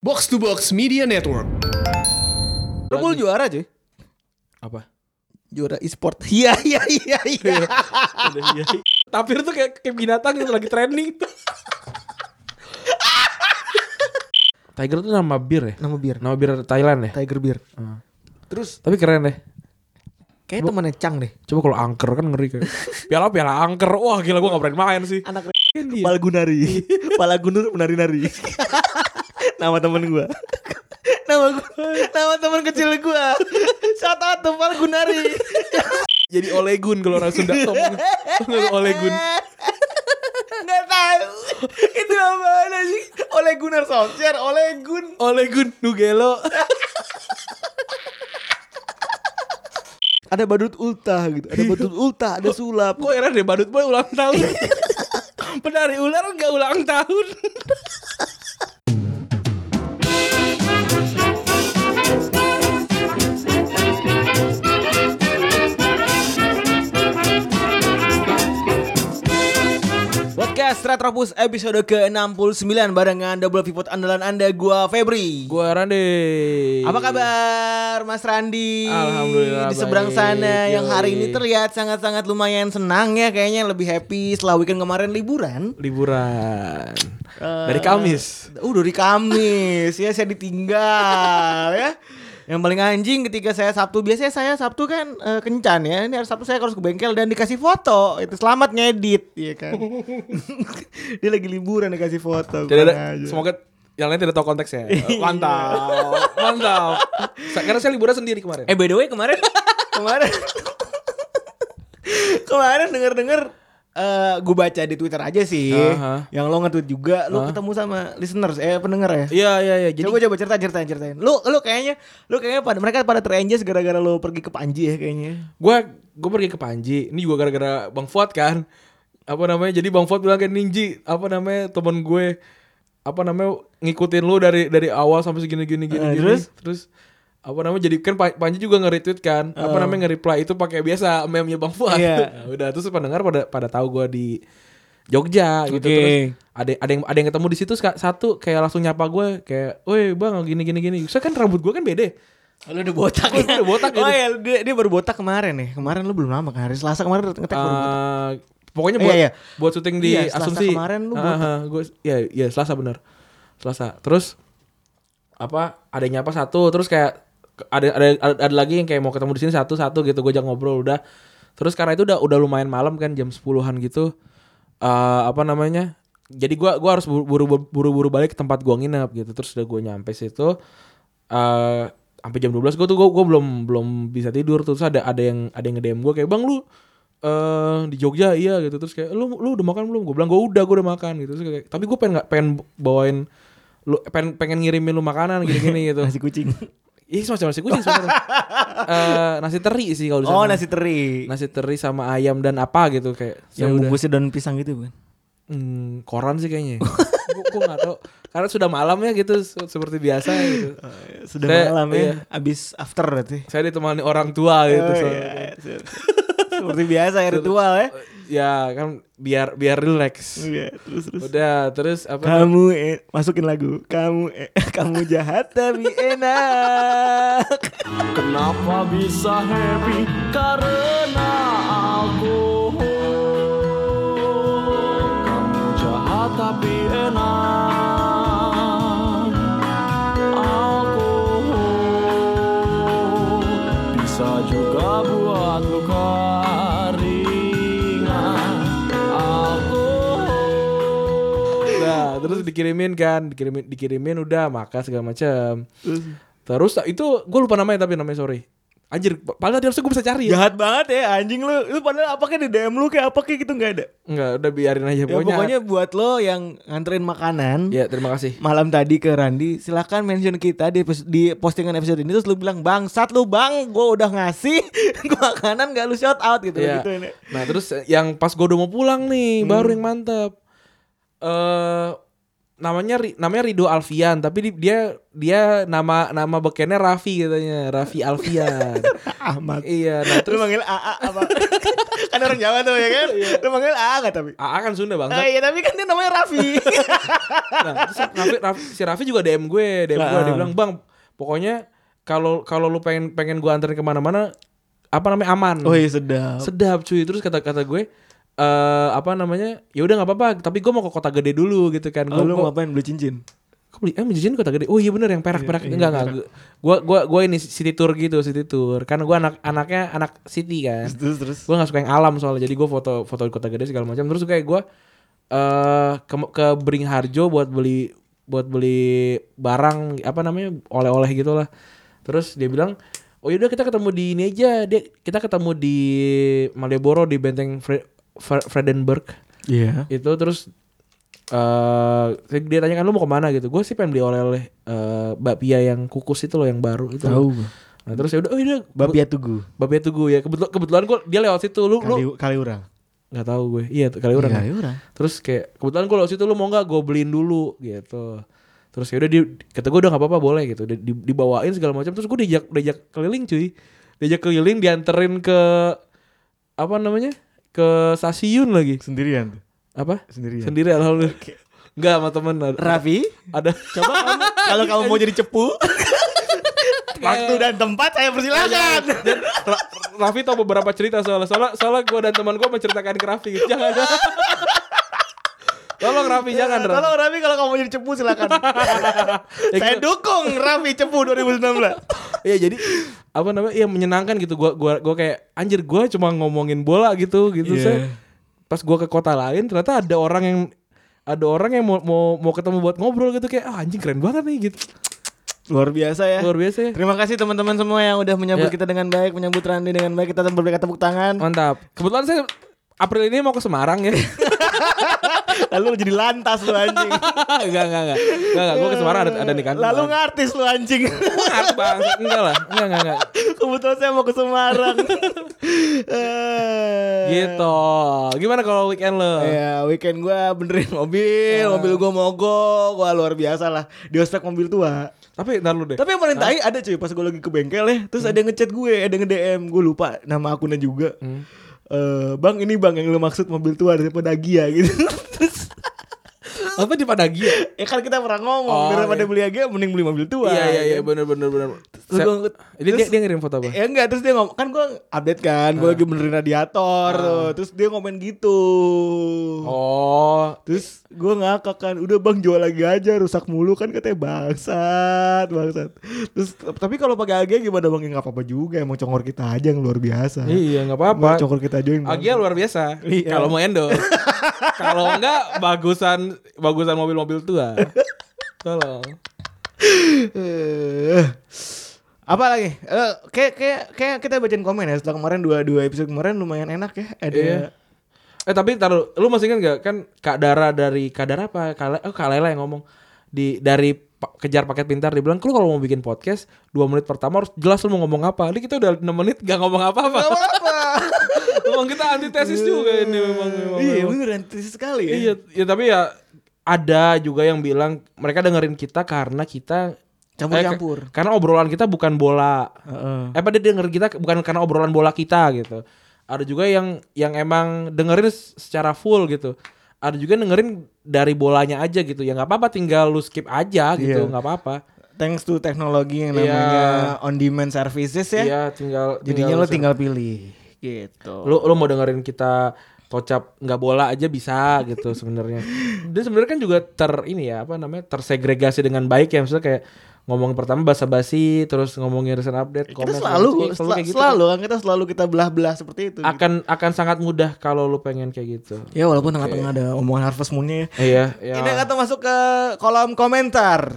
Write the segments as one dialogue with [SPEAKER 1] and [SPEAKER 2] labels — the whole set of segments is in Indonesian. [SPEAKER 1] Box to Box Media Network.
[SPEAKER 2] Liverpool juara cuy.
[SPEAKER 3] Apa?
[SPEAKER 2] Juara e-sport. Iya iya iya iya.
[SPEAKER 3] Tapir tuh kayak, kayak binatang gitu lagi training tuh. Tiger tuh nama bir ya?
[SPEAKER 2] Nama bir.
[SPEAKER 3] Nama bir Thailand ya?
[SPEAKER 2] Tiger Beer.
[SPEAKER 3] Heeh.
[SPEAKER 2] Terus
[SPEAKER 3] Tapi keren deh.
[SPEAKER 2] kayak temannya Cang deh.
[SPEAKER 3] Coba kalau angker kan ngeri kayak. Piala piala angker. Wah gila gue gak berani main sih.
[SPEAKER 2] Anak
[SPEAKER 3] Kan dia.
[SPEAKER 2] Palgunari. Palagunur menari-nari. Nama temen gua. Nama gua, nama temen kecil gua. Shout out to Palgunari.
[SPEAKER 3] Jadi olegun kalau orang Sunda. Tau nggak? Tau nggak olegun.
[SPEAKER 2] Enggak tahu. Itu apa sih? Oleh Gunnar Solskjaer, Oleh Gun.
[SPEAKER 3] Olegun Nugelo.
[SPEAKER 2] Ada badut ulta gitu. Ada badut ulta, ada sulap.
[SPEAKER 3] Gue heran deh badut boy ulang tahun. Penari ular gak ulang tahun.
[SPEAKER 2] Podcast Retropus episode ke-69 barengan double pivot andalan Anda gua Febri.
[SPEAKER 3] gue heran deh.
[SPEAKER 2] Apa kabar Mas Randi?
[SPEAKER 3] Alhamdulillah,
[SPEAKER 2] Di seberang
[SPEAKER 3] baik.
[SPEAKER 2] sana yang hari
[SPEAKER 3] Yoi.
[SPEAKER 2] ini terlihat sangat-sangat lumayan senang ya kayaknya lebih happy setelah weekend kemarin liburan.
[SPEAKER 3] liburan
[SPEAKER 2] Eh,
[SPEAKER 3] dari Kamis.
[SPEAKER 2] Uh, dari Kamis ya saya ditinggal ya. Yang paling anjing ketika saya Sabtu biasanya saya Sabtu kan eh, kencan ya. Ini hari Sabtu saya harus ke bengkel dan dikasih foto. Itu selamat ngedit ya kan. Dia lagi liburan dikasih foto.
[SPEAKER 3] Tidak ada,
[SPEAKER 2] kurang aja.
[SPEAKER 3] semoga yang lain tidak tahu konteksnya. Eh, Mantap, mantap. Sa- Karena saya liburan sendiri kemarin.
[SPEAKER 2] Eh by the way kemarin kemarin kemarin denger-denger eh gue baca di Twitter aja sih.
[SPEAKER 3] Aha.
[SPEAKER 2] Yang lo nge-tweet juga lo ketemu sama listeners eh pendengar ya.
[SPEAKER 3] Iya iya Uh-huh. iya. Jadi
[SPEAKER 2] coba coba cerita ceritain ceritain. Lu lu kayaknya lu kayaknya pada mereka pada terenjas gara-gara lu pergi ke Panji ya kayaknya.
[SPEAKER 3] gue gue pergi ke Panji. Ini juga gara-gara Bang Fuad kan. Apa namanya? Jadi Bang Fuad bilang kayak Ninji. Apa namanya? Temen gue apa namanya ngikutin lu dari dari awal sampai segini gini gini,
[SPEAKER 2] Eh,
[SPEAKER 3] gini.
[SPEAKER 2] terus?
[SPEAKER 3] terus apa namanya jadi kan Pa- Panji juga nge-retweet kan apa namanya nge-reply itu pakai biasa meme-nya Bang Fuad
[SPEAKER 2] Eh. Iya.
[SPEAKER 3] udah terus pendengar pada pada tahu gue di Jogja gitu
[SPEAKER 2] Oke.
[SPEAKER 3] terus ada ada yang ada yang ketemu di situ ska- satu kayak langsung nyapa gue kayak, "Woi, Bang, gini gini gini." Saya kan rambut gue kan beda.
[SPEAKER 2] Lu udah botak
[SPEAKER 3] ya?
[SPEAKER 2] Udah botak
[SPEAKER 3] Oh
[SPEAKER 2] Oh iya, dia, dia baru botak kemarin ya. Kemarin lu belum lama kan. Hari Selasa kemarin ngetek baru botak.
[SPEAKER 3] Eh, pokoknya
[SPEAKER 2] Iya,
[SPEAKER 3] buat
[SPEAKER 2] iya.
[SPEAKER 3] buat syuting di
[SPEAKER 2] Iya, Selasa
[SPEAKER 3] asumsi
[SPEAKER 2] kemarin lu
[SPEAKER 3] Heeh, gua ya ya Selasa bener Selasa terus apa ada yang nyapa satu terus kayak ada ada ada, ada lagi yang kayak mau ketemu di sini satu satu gitu gue ngobrol udah terus karena itu udah udah lumayan malam kan jam 10-an gitu eh apa namanya jadi gua gua harus buru-buru buru-buru balik ke tempat gua nginep gitu terus udah gue nyampe situ eh sampai jam 12 gue tuh gue belum belum bisa tidur terus ada ada yang ada yang nge-DM gue kayak bang lu eh di Jogja iya gitu terus kayak lu lu udah makan belum gue bilang gue udah gue udah makan gitu terus kayak tapi gue pengen nggak pengen bawain lu pengen pengen ngirimin lu makanan gini gini gitu
[SPEAKER 2] Nasi kucing.
[SPEAKER 3] Ih semacam nasi kucing sebenarnya Eh, nasi teri sih kalau di
[SPEAKER 2] oh,
[SPEAKER 3] sana.
[SPEAKER 2] nasi teri.
[SPEAKER 3] nasi teri sama ayam dan apa gitu kayak
[SPEAKER 2] yang
[SPEAKER 3] Ya udah.
[SPEAKER 2] bungkusnya daun pisang gitu bukan?
[SPEAKER 3] Hmm, koran sih kayaknya gue nggak tahu karena sudah malam ya gitu se- seperti biasa gitu
[SPEAKER 2] Oh, Sudah
[SPEAKER 3] Saya-
[SPEAKER 2] malam
[SPEAKER 3] iya.
[SPEAKER 2] ya. Abis after berarti.
[SPEAKER 3] saya ditemani orang tua gitu
[SPEAKER 2] Oh,
[SPEAKER 3] soalnya.
[SPEAKER 2] iya. Seperti biasa ya ritual ya.
[SPEAKER 3] ya kan biar biar relax
[SPEAKER 2] Iya, terus terus.
[SPEAKER 3] udah terus apa
[SPEAKER 2] Kamu eh, masukin lagu. Kamu eh, kamu jahat tapi enak.
[SPEAKER 4] Kenapa bisa happy? Karena alkohol Kamu jahat tapi enak Alkohol Bisa juga buat luka ringan Alkohol
[SPEAKER 3] nah, terus dikirimin kan dikirimin dikirimin udah makan segala macam terus ah, itu gue lupa namanya tapi namanya sorry anjir padahal dia harusnya gue bisa cari ya
[SPEAKER 2] Jahat banget ya anjing lu. Lu padahal apa kayak di DM lu kayak apa kayak gitu nggak ada.
[SPEAKER 3] nggak udah biarin aja
[SPEAKER 2] Ya,
[SPEAKER 3] pokoknya,
[SPEAKER 2] pokoknya buat lo yang nganterin makanan
[SPEAKER 3] ya terima kasih
[SPEAKER 2] malam tadi ke Randi, silahkan mention kita di pos- di postingan episode ini terus lu bilang bangsat lu bang, gue udah ngasih makanan gak lu shout out gitu
[SPEAKER 3] Iya.
[SPEAKER 2] gitu ini.
[SPEAKER 3] Nah Hmm. terus eh, yang pas gue udah mau pulang nih baru yang mantep. Eh namanya Ri- namanya Rido Alfian tapi di- dia dia nama nama bekennya Raffi katanya Raffi Alfian
[SPEAKER 2] Ahmad.
[SPEAKER 3] iya nah
[SPEAKER 2] Lu
[SPEAKER 3] terus
[SPEAKER 2] manggil AA apa? kan orang Jawa tuh ya kan? Lu manggil AA gak tapi?
[SPEAKER 3] AA kan Sunda bang
[SPEAKER 2] Ah, iya tapi kan dia namanya Raffi.
[SPEAKER 3] nah, terus Raffi, Raffi- si Raffi juga DM gue, DM gue
[SPEAKER 2] Ah.
[SPEAKER 3] dia bilang bang, pokoknya kalau kalau lu pengen pengen gue anterin kemana-mana, apa namanya aman,
[SPEAKER 2] oh iya sedap.
[SPEAKER 3] sedap cuy. Terus kata kata gue, eh apa namanya, ya udah nggak apa-apa, tapi gue mau ke kota gede dulu gitu kan. Gue
[SPEAKER 2] Oh, lu
[SPEAKER 3] mau,
[SPEAKER 2] ngapain beli cincin?
[SPEAKER 3] kok beli, eh cincin kota gede. Oh iya bener yang perak perak enggak enggak. Gue gue gue ini city tour gitu city tour, karena gue anak anaknya anak city kan
[SPEAKER 2] Terus terus.
[SPEAKER 3] gue gak suka yang alam soalnya jadi gue foto foto di kota gede segala macam terus kayak gue eh ke ke Beringharjo buat beli buat beli barang apa namanya oleh-oleh gitu lah terus dia bilang oh yaudah kita ketemu di ini aja dia kita ketemu di Malioboro di benteng Fre- Fre- Fredenberg
[SPEAKER 2] Iya.
[SPEAKER 3] itu terus eh dia tanya kan lu mau kemana gitu gue sih pengen beli oleh-oleh eh bakpia yang kukus itu loh yang baru itu
[SPEAKER 2] Tahu.
[SPEAKER 3] nah, terus ya udah oh yaudah
[SPEAKER 2] Bapia Tugu.
[SPEAKER 3] Babe Tugu ya kebetulan kebetulan gue dia lewat situ lu lu
[SPEAKER 2] Kali Kaliurang.
[SPEAKER 3] nggak tahu gue iya tuh, kali orang
[SPEAKER 2] Kaliurang.
[SPEAKER 3] terus kayak kebetulan gue lewat situ lu mau nggak gue beliin dulu gitu terus ya udah di kata gue udah nggak apa-apa boleh gitu Di- di- dibawain segala macam terus gue diajak diajak keliling cuy diajak keliling dianterin ke apa namanya ke stasiun lagi
[SPEAKER 2] Sendirian tuh.
[SPEAKER 3] apa
[SPEAKER 2] Sendirian.
[SPEAKER 3] sendiri alhamdulillah nggak sama temen ada,
[SPEAKER 2] Raffi,
[SPEAKER 3] ada
[SPEAKER 2] coba kamu kalau kamu mau jadi cepu Waktu dan tempat saya persilakan.
[SPEAKER 3] Dan Ra- Raffi tau beberapa cerita soalnya soalnya soalnya gue dan teman gue menceritakan ke Raffi gitu. jangan tolong Raffi jangan Raffi.
[SPEAKER 2] Iya, Tolong Raffi Iya. kalau kamu mau jadi cepu silakan.
[SPEAKER 3] Ya,
[SPEAKER 2] saya
[SPEAKER 3] gitu.
[SPEAKER 2] dukung Raffi cepu 2019.
[SPEAKER 3] Iya jadi apa namanya? Iya menyenangkan gitu. Gua gua gua kayak anjir gua cuma ngomongin bola gitu gitu.
[SPEAKER 2] Iya.
[SPEAKER 3] Saya, pas gua ke kota lain ternyata ada orang yang ada orang yang mau mau, mau ketemu buat ngobrol gitu kayak ah, anjing keren banget nih gitu.
[SPEAKER 2] Luar biasa ya.
[SPEAKER 3] Luar biasa ya.
[SPEAKER 2] Terima kasih teman-teman semua yang udah menyambut
[SPEAKER 3] Ya.
[SPEAKER 2] kita dengan baik, menyambut Randy dengan baik. Kita berberikan tepuk tangan.
[SPEAKER 3] Mantap. Kebetulan saya April ini mau ke Semarang ya.
[SPEAKER 2] Lalu lu jadi lantas lu anjing.
[SPEAKER 3] enggak enggak enggak. Enggak enggak gua ke Semarang ada kan? ada nikahan.
[SPEAKER 2] Lalu ngartis lu anjing.
[SPEAKER 3] ngat bang. Enggak lah. Enggak enggak enggak.
[SPEAKER 2] Kebetulan saya mau ke Semarang. Eh.
[SPEAKER 3] Gitu. Gimana kalau weekend lo?
[SPEAKER 2] Ya, weekend gua benerin mobil,
[SPEAKER 3] Ah.
[SPEAKER 2] mobil gua mogok, wah luar biasa lah. Di ospek mobil tua.
[SPEAKER 3] Tapi ntar lu deh.
[SPEAKER 2] Tapi yang paling tai ada cuy pas gue lagi ke bengkel ya Terus ada yang
[SPEAKER 3] Hmm.
[SPEAKER 2] ngechat gue Ada yang nge-DM Gue lupa nama akunnya juga Eh, Bang ini bang yang lu maksud mobil tua daripada Agia gitu Terus
[SPEAKER 3] Apa di Padagia?
[SPEAKER 2] Ya kan kita pernah ngomong
[SPEAKER 3] Oh,
[SPEAKER 2] Daripada beli Agia mending beli mobil tua
[SPEAKER 3] Iya iya iya
[SPEAKER 2] kan?
[SPEAKER 3] benar benar benar.
[SPEAKER 2] Terus
[SPEAKER 3] Saya-
[SPEAKER 2] gua-
[SPEAKER 3] Ini dia
[SPEAKER 2] terus-
[SPEAKER 3] dia Ah. ngirim foto apa?
[SPEAKER 2] Ya enggak terus dia ngomong Kan gue update kan Gue lagi benerin radiator tuh. Terus dia ngomen gitu
[SPEAKER 3] Ah. Oh,
[SPEAKER 2] Terus gue ngakak kan Udah bang jual lagi aja Rusak mulu kan katanya bangsat Bangsat Terus Tapi kalau pakai Agia gimana bang Ya nggak apa-apa juga Emang congor kita aja yang luar biasa
[SPEAKER 3] iya nggak
[SPEAKER 2] Nggak,
[SPEAKER 3] apa-apa.
[SPEAKER 2] congor kita aja yang
[SPEAKER 3] Agia luar biasa.
[SPEAKER 2] Iya.
[SPEAKER 3] Kalau mau endo. Kalau enggak bagusan bagusan mobil-mobil tua. Tolong.
[SPEAKER 2] Eh, apa lagi? Eh, kayak kayak kayak kita bacain komen ya setelah kemarin dua dua episode kemarin lumayan enak ya ada
[SPEAKER 3] Iya. Eh tapi taruh lu masih ingat nggak kan Kak Dara dari Kak Dara apa Kak Le- oh, Kak Lela yang ngomong di dari pa- kejar paket pintar dia bilang lu kalau mau bikin podcast dua menit pertama harus jelas lu mau ngomong apa ini kita udah 6 menit gak ngomong apa-apa
[SPEAKER 2] apa?
[SPEAKER 3] memang kita antitesis juga ini memang, memang,
[SPEAKER 2] iya
[SPEAKER 3] memang.
[SPEAKER 2] beneran tesis sekali ya.
[SPEAKER 3] Iya, ya tapi ya ada juga yang bilang mereka dengerin kita karena kita
[SPEAKER 2] Campur-campur.
[SPEAKER 3] eh, karena obrolan kita bukan bola. Eh pada dengerin kita bukan karena obrolan bola kita gitu. Ada juga yang yang emang dengerin s- secara full gitu. Ada juga yang dengerin dari bolanya aja gitu. Ya nggak apa-apa tinggal lu skip aja gitu,
[SPEAKER 2] Iya.
[SPEAKER 3] nggak apa-apa.
[SPEAKER 2] Thanks to teknologi yang
[SPEAKER 3] Iya.
[SPEAKER 2] namanya on demand services ya.
[SPEAKER 3] Iya, tinggal
[SPEAKER 2] Jadinya lo
[SPEAKER 3] lu
[SPEAKER 2] tinggal pilih gitu.
[SPEAKER 3] lu lu mau dengerin kita tocap nggak bola aja bisa gitu sebenarnya. Dan sebenarnya kan juga ter ini ya apa namanya tersegregasi dengan baik ya maksudnya kayak ngomong pertama basa-basi terus ngomongin recent update
[SPEAKER 2] Kita
[SPEAKER 3] segala
[SPEAKER 2] selalu
[SPEAKER 3] macam. Iya,
[SPEAKER 2] sel-
[SPEAKER 3] kayak gitu. kan.
[SPEAKER 2] selalu kan kita selalu kita belah-belah seperti itu. gitu.
[SPEAKER 3] akan akan sangat mudah kalau lu pengen kayak gitu.
[SPEAKER 2] Ya walaupun tengah-tengah ada omongan harvest moonnya ya.
[SPEAKER 3] Iya, ya.
[SPEAKER 2] Ini kata masuk ke kolom komentar.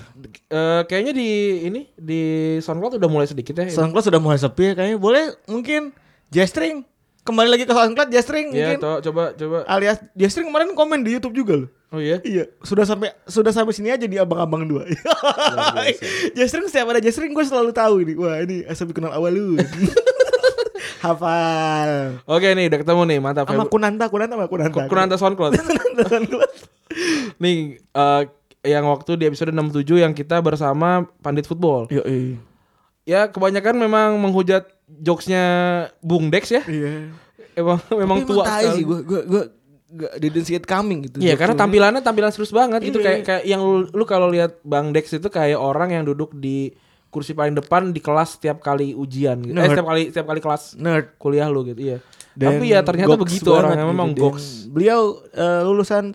[SPEAKER 3] Eh, kayaknya di ini di SoundCloud udah mulai sedikit ya.
[SPEAKER 2] SoundCloud Iya. sudah mulai sepi ya, kayaknya. Boleh mungkin jestring kembali lagi ke SoundCloud jestring
[SPEAKER 3] Iya,
[SPEAKER 2] mungkin.
[SPEAKER 3] to- coba coba.
[SPEAKER 2] Alias jestring kemarin komen di YouTube juga loh.
[SPEAKER 3] Oh iya.
[SPEAKER 2] Iya, sudah sampai sudah sampai sini aja di abang-abang dua. iya, jestring setiap ada jestring gue selalu tahu ini. Wah, ini asal kenal awal lu. Hafal.
[SPEAKER 3] Oke nih udah ketemu nih, mantap.
[SPEAKER 2] Sama Kunanta, Kunanta sama Kunanta.
[SPEAKER 3] Kunanta SoundCloud.
[SPEAKER 2] Kunanta SoundCloud.
[SPEAKER 3] Nih eh yang waktu di episode 67 yang kita bersama Pandit Football.
[SPEAKER 2] Iya,
[SPEAKER 3] Ya kebanyakan memang menghujat jokesnya Bung Dex ya.
[SPEAKER 2] iya.
[SPEAKER 3] Emang memang tua sekali.
[SPEAKER 2] sih, gue gue gue gak didn't see it coming gitu.
[SPEAKER 3] Iya karena
[SPEAKER 2] Jokes-nya.
[SPEAKER 3] tampilannya tampilan serius banget gitu
[SPEAKER 2] Iya.
[SPEAKER 3] kayak kayak yang lu, lu kalau lihat Bang Dex itu kayak orang yang duduk di kursi paling depan di kelas setiap kali ujian gitu. Eh
[SPEAKER 2] Nerd.
[SPEAKER 3] setiap kali setiap kali kelas
[SPEAKER 2] nerd.
[SPEAKER 3] kuliah lu gitu iya.
[SPEAKER 2] Dan
[SPEAKER 3] Tapi ya ternyata
[SPEAKER 2] goks
[SPEAKER 3] begitu
[SPEAKER 2] banget
[SPEAKER 3] orangnya memang
[SPEAKER 2] gitu, Dan
[SPEAKER 3] goks.
[SPEAKER 2] Beliau eh, lulusan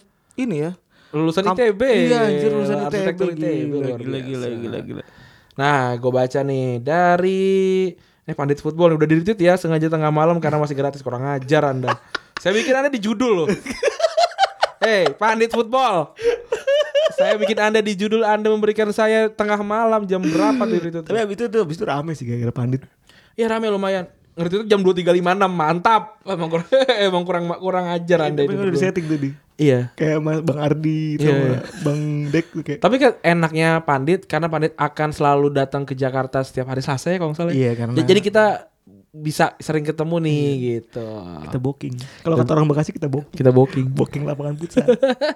[SPEAKER 2] ini ya.
[SPEAKER 3] Lulusan
[SPEAKER 2] Kamp-
[SPEAKER 3] ITB.
[SPEAKER 2] Iya, anjir lulusan ITB.
[SPEAKER 3] Arsitektur ITB,
[SPEAKER 2] Gila,
[SPEAKER 3] luar
[SPEAKER 2] gila, gila,
[SPEAKER 3] biasa.
[SPEAKER 2] gila, gila.
[SPEAKER 3] Nah, gue baca nih dari ini pandit football udah di retweet ya sengaja tengah malam karena masih gratis kurang ajar anda. Saya bikin anda di judul loh. Hey, pandit football. Saya bikin anda di judul anda memberikan saya tengah malam jam berapa di retweet?
[SPEAKER 2] Tapi abis itu tuh abis itu rame sih gara-gara pandit.
[SPEAKER 3] Ya rame lumayan. Ngerti itu jam 23.56 mantap. Emang kurang emang kurang kurang ajar
[SPEAKER 2] Iya,
[SPEAKER 3] anda
[SPEAKER 2] Tapi
[SPEAKER 3] itu.
[SPEAKER 2] udah di
[SPEAKER 3] berdua.
[SPEAKER 2] setting tadi.
[SPEAKER 3] Iya.
[SPEAKER 2] Kayak Mas Bang Ardi
[SPEAKER 3] Iya,
[SPEAKER 2] sama
[SPEAKER 3] iya.
[SPEAKER 2] Bang Dek tuh kayak.
[SPEAKER 3] Tapi kan enaknya Pandit karena Pandit akan selalu datang ke Jakarta setiap hari Selasa ya kalau nggak salah.
[SPEAKER 2] Iya, karena-
[SPEAKER 3] Ja- Jadi kita bisa sering ketemu nih gitu. Kita,
[SPEAKER 2] Kita booking. Kalau kata orang Bekasi kita booking.
[SPEAKER 3] booking
[SPEAKER 2] Booking lapangan futsal.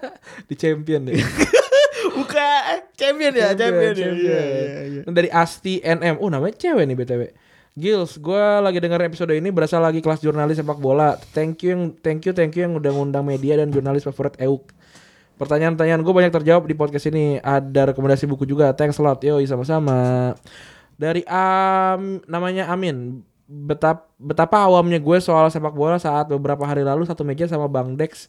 [SPEAKER 3] di champion deh.
[SPEAKER 2] Bukan champion ya, champion, ya. Iya, iya, iya.
[SPEAKER 3] Dari Asti NM. Oh, namanya cewek nih BTW. Gils, gue lagi denger episode ini berasa lagi kelas jurnalis sepak bola. Thank you yang thank you thank you yang udah ngundang media dan jurnalis favorit EUK. Pertanyaan-pertanyaan gue banyak terjawab di podcast ini. Ada rekomendasi buku juga. Thanks a lot. Yoi, sama-sama. Dari Am namanya Amin. Betap, betapa awamnya gue soal sepak bola saat beberapa hari lalu satu meja sama Bang Dex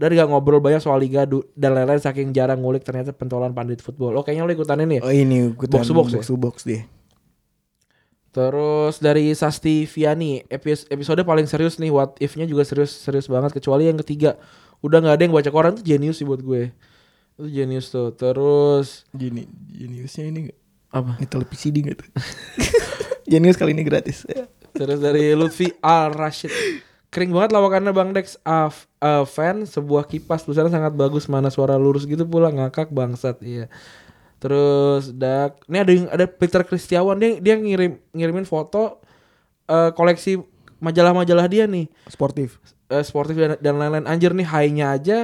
[SPEAKER 3] dan gak ngobrol banyak soal liga du- dan lain-lain saking jarang ngulik ternyata pentolan pandit football. Oh kayaknya lo ikutan ini ya.
[SPEAKER 2] Oh ini ikutan
[SPEAKER 3] Box to box ya?
[SPEAKER 2] box to box deh.
[SPEAKER 3] Terus dari Sasti Viani, epis- episode paling serius nih what if-nya juga serius serius banget kecuali yang ketiga. Udah nggak ada yang baca koran tuh jenius sih buat gue. Itu jenius tuh. Terus
[SPEAKER 2] Gini, geniusnya ini nggak?
[SPEAKER 3] apa?
[SPEAKER 2] Nyetel PCD nggak tuh? Genius kali ini gratis.
[SPEAKER 3] Terus dari Lutfi Al Rashid. Kering banget lawakannya Bang Dex a, a fan sebuah kipas tulisannya sangat bagus mana suara lurus gitu pula ngakak bangsat iya. Terus dak ini ada yang ada Peter Kristiawan dia dia ngirim ngirimin foto eh, koleksi majalah-majalah dia nih.
[SPEAKER 2] Sportif.
[SPEAKER 3] eh, sportif dan, dan lain-lain anjir nih high-nya aja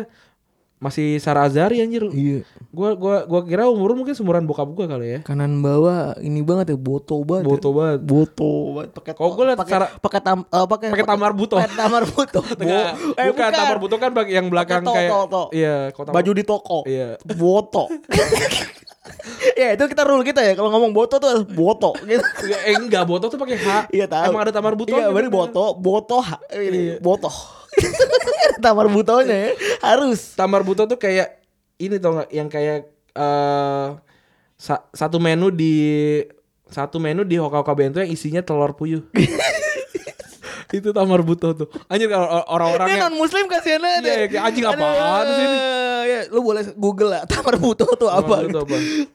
[SPEAKER 3] masih Sarah Azari anjir.
[SPEAKER 2] Iya.
[SPEAKER 3] Gua gua gua kira umur mungkin seumuran bokap gua kali ya.
[SPEAKER 2] Kanan bawah ini banget ya boto banget.
[SPEAKER 3] Boto banget.
[SPEAKER 2] Boto banget. Pakai
[SPEAKER 3] Kalau gua liat
[SPEAKER 2] pakai-
[SPEAKER 3] Sarah-
[SPEAKER 2] pakai tam eh, pakai
[SPEAKER 3] Pakai tamar buto.
[SPEAKER 2] Pakai tamar buto.
[SPEAKER 3] Tengah.
[SPEAKER 2] Bo- eh,
[SPEAKER 3] bukan, tampar butuh kan bagi yang belakang
[SPEAKER 2] Pakai to-
[SPEAKER 3] kayak
[SPEAKER 2] to- to.
[SPEAKER 3] iya kota
[SPEAKER 2] Baju di toko.
[SPEAKER 3] Iya.
[SPEAKER 2] Boto. ya itu kita rule kita ya kalau ngomong boto tuh harus boto gitu.
[SPEAKER 3] Ya, eh, enggak botok tuh pakai H.
[SPEAKER 2] Iya tahu.
[SPEAKER 3] Emang ada tamar gitu butuh. kan?
[SPEAKER 2] Iya, berarti boto, boto ha-
[SPEAKER 3] Iya.
[SPEAKER 2] ini boto. Ada tamar butonya ya. Harus.
[SPEAKER 3] Tamar butuh tuh kayak ini tau nggak yang kayak eh sa- satu menu di satu menu di Hoka Hoka Bento yang isinya telur puyuh. itu tamar butuh tuh. Anjir kalau or- orang-orang
[SPEAKER 2] Ini
[SPEAKER 3] yang
[SPEAKER 2] non muslim kasihan aja.
[SPEAKER 3] Iya, iya, kayak anjing apaan sih ini?
[SPEAKER 2] Ya, lu boleh Google lah tamar buto tuh
[SPEAKER 3] Tamar
[SPEAKER 2] apa.
[SPEAKER 3] butuh
[SPEAKER 2] gitu.
[SPEAKER 3] apa?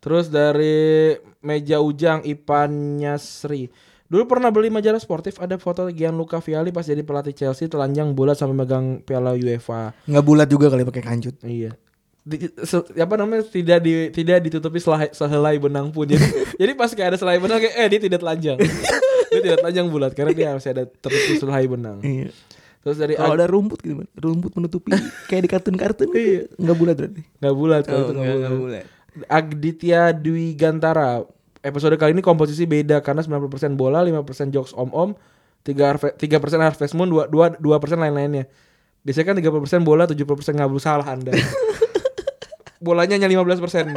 [SPEAKER 3] Terus dari meja ujang Ipan Nyasri. Dulu pernah beli majalah sportif ada foto Gianluca Vialli pas jadi pelatih Chelsea telanjang bulat sampai megang piala UEFA.
[SPEAKER 2] Nggak bulat juga kali pakai kancut.
[SPEAKER 3] Iya. Di, se- apa namanya tidak di, tidak ditutupi selai- sehelai benang pun. Jadi jadi pas kayak ada selai benang kayak eh dia tidak telanjang. dia tidak telanjang bulat karena dia harus ada tertutup selai benang.
[SPEAKER 2] Iya.
[SPEAKER 3] Terus dari
[SPEAKER 2] Kalau ada rumput gitu, Bang. rumput menutupi kayak di kartun-kartun gitu. Nggak bulat berarti.
[SPEAKER 3] nggak bulat
[SPEAKER 2] Oh,
[SPEAKER 3] kalau itu Iya. Oh, nggak bulat. Agditya Dwi Gantara. Episode kali ini komposisi beda karena 90% bola, 5% jokes om-om, 3 3% Harvest Moon, 2 2, 2% lain-lainnya. Biasanya kan 30% bola, 70% ngabul salah Anda. Bolanya hanya 15%. 60 60%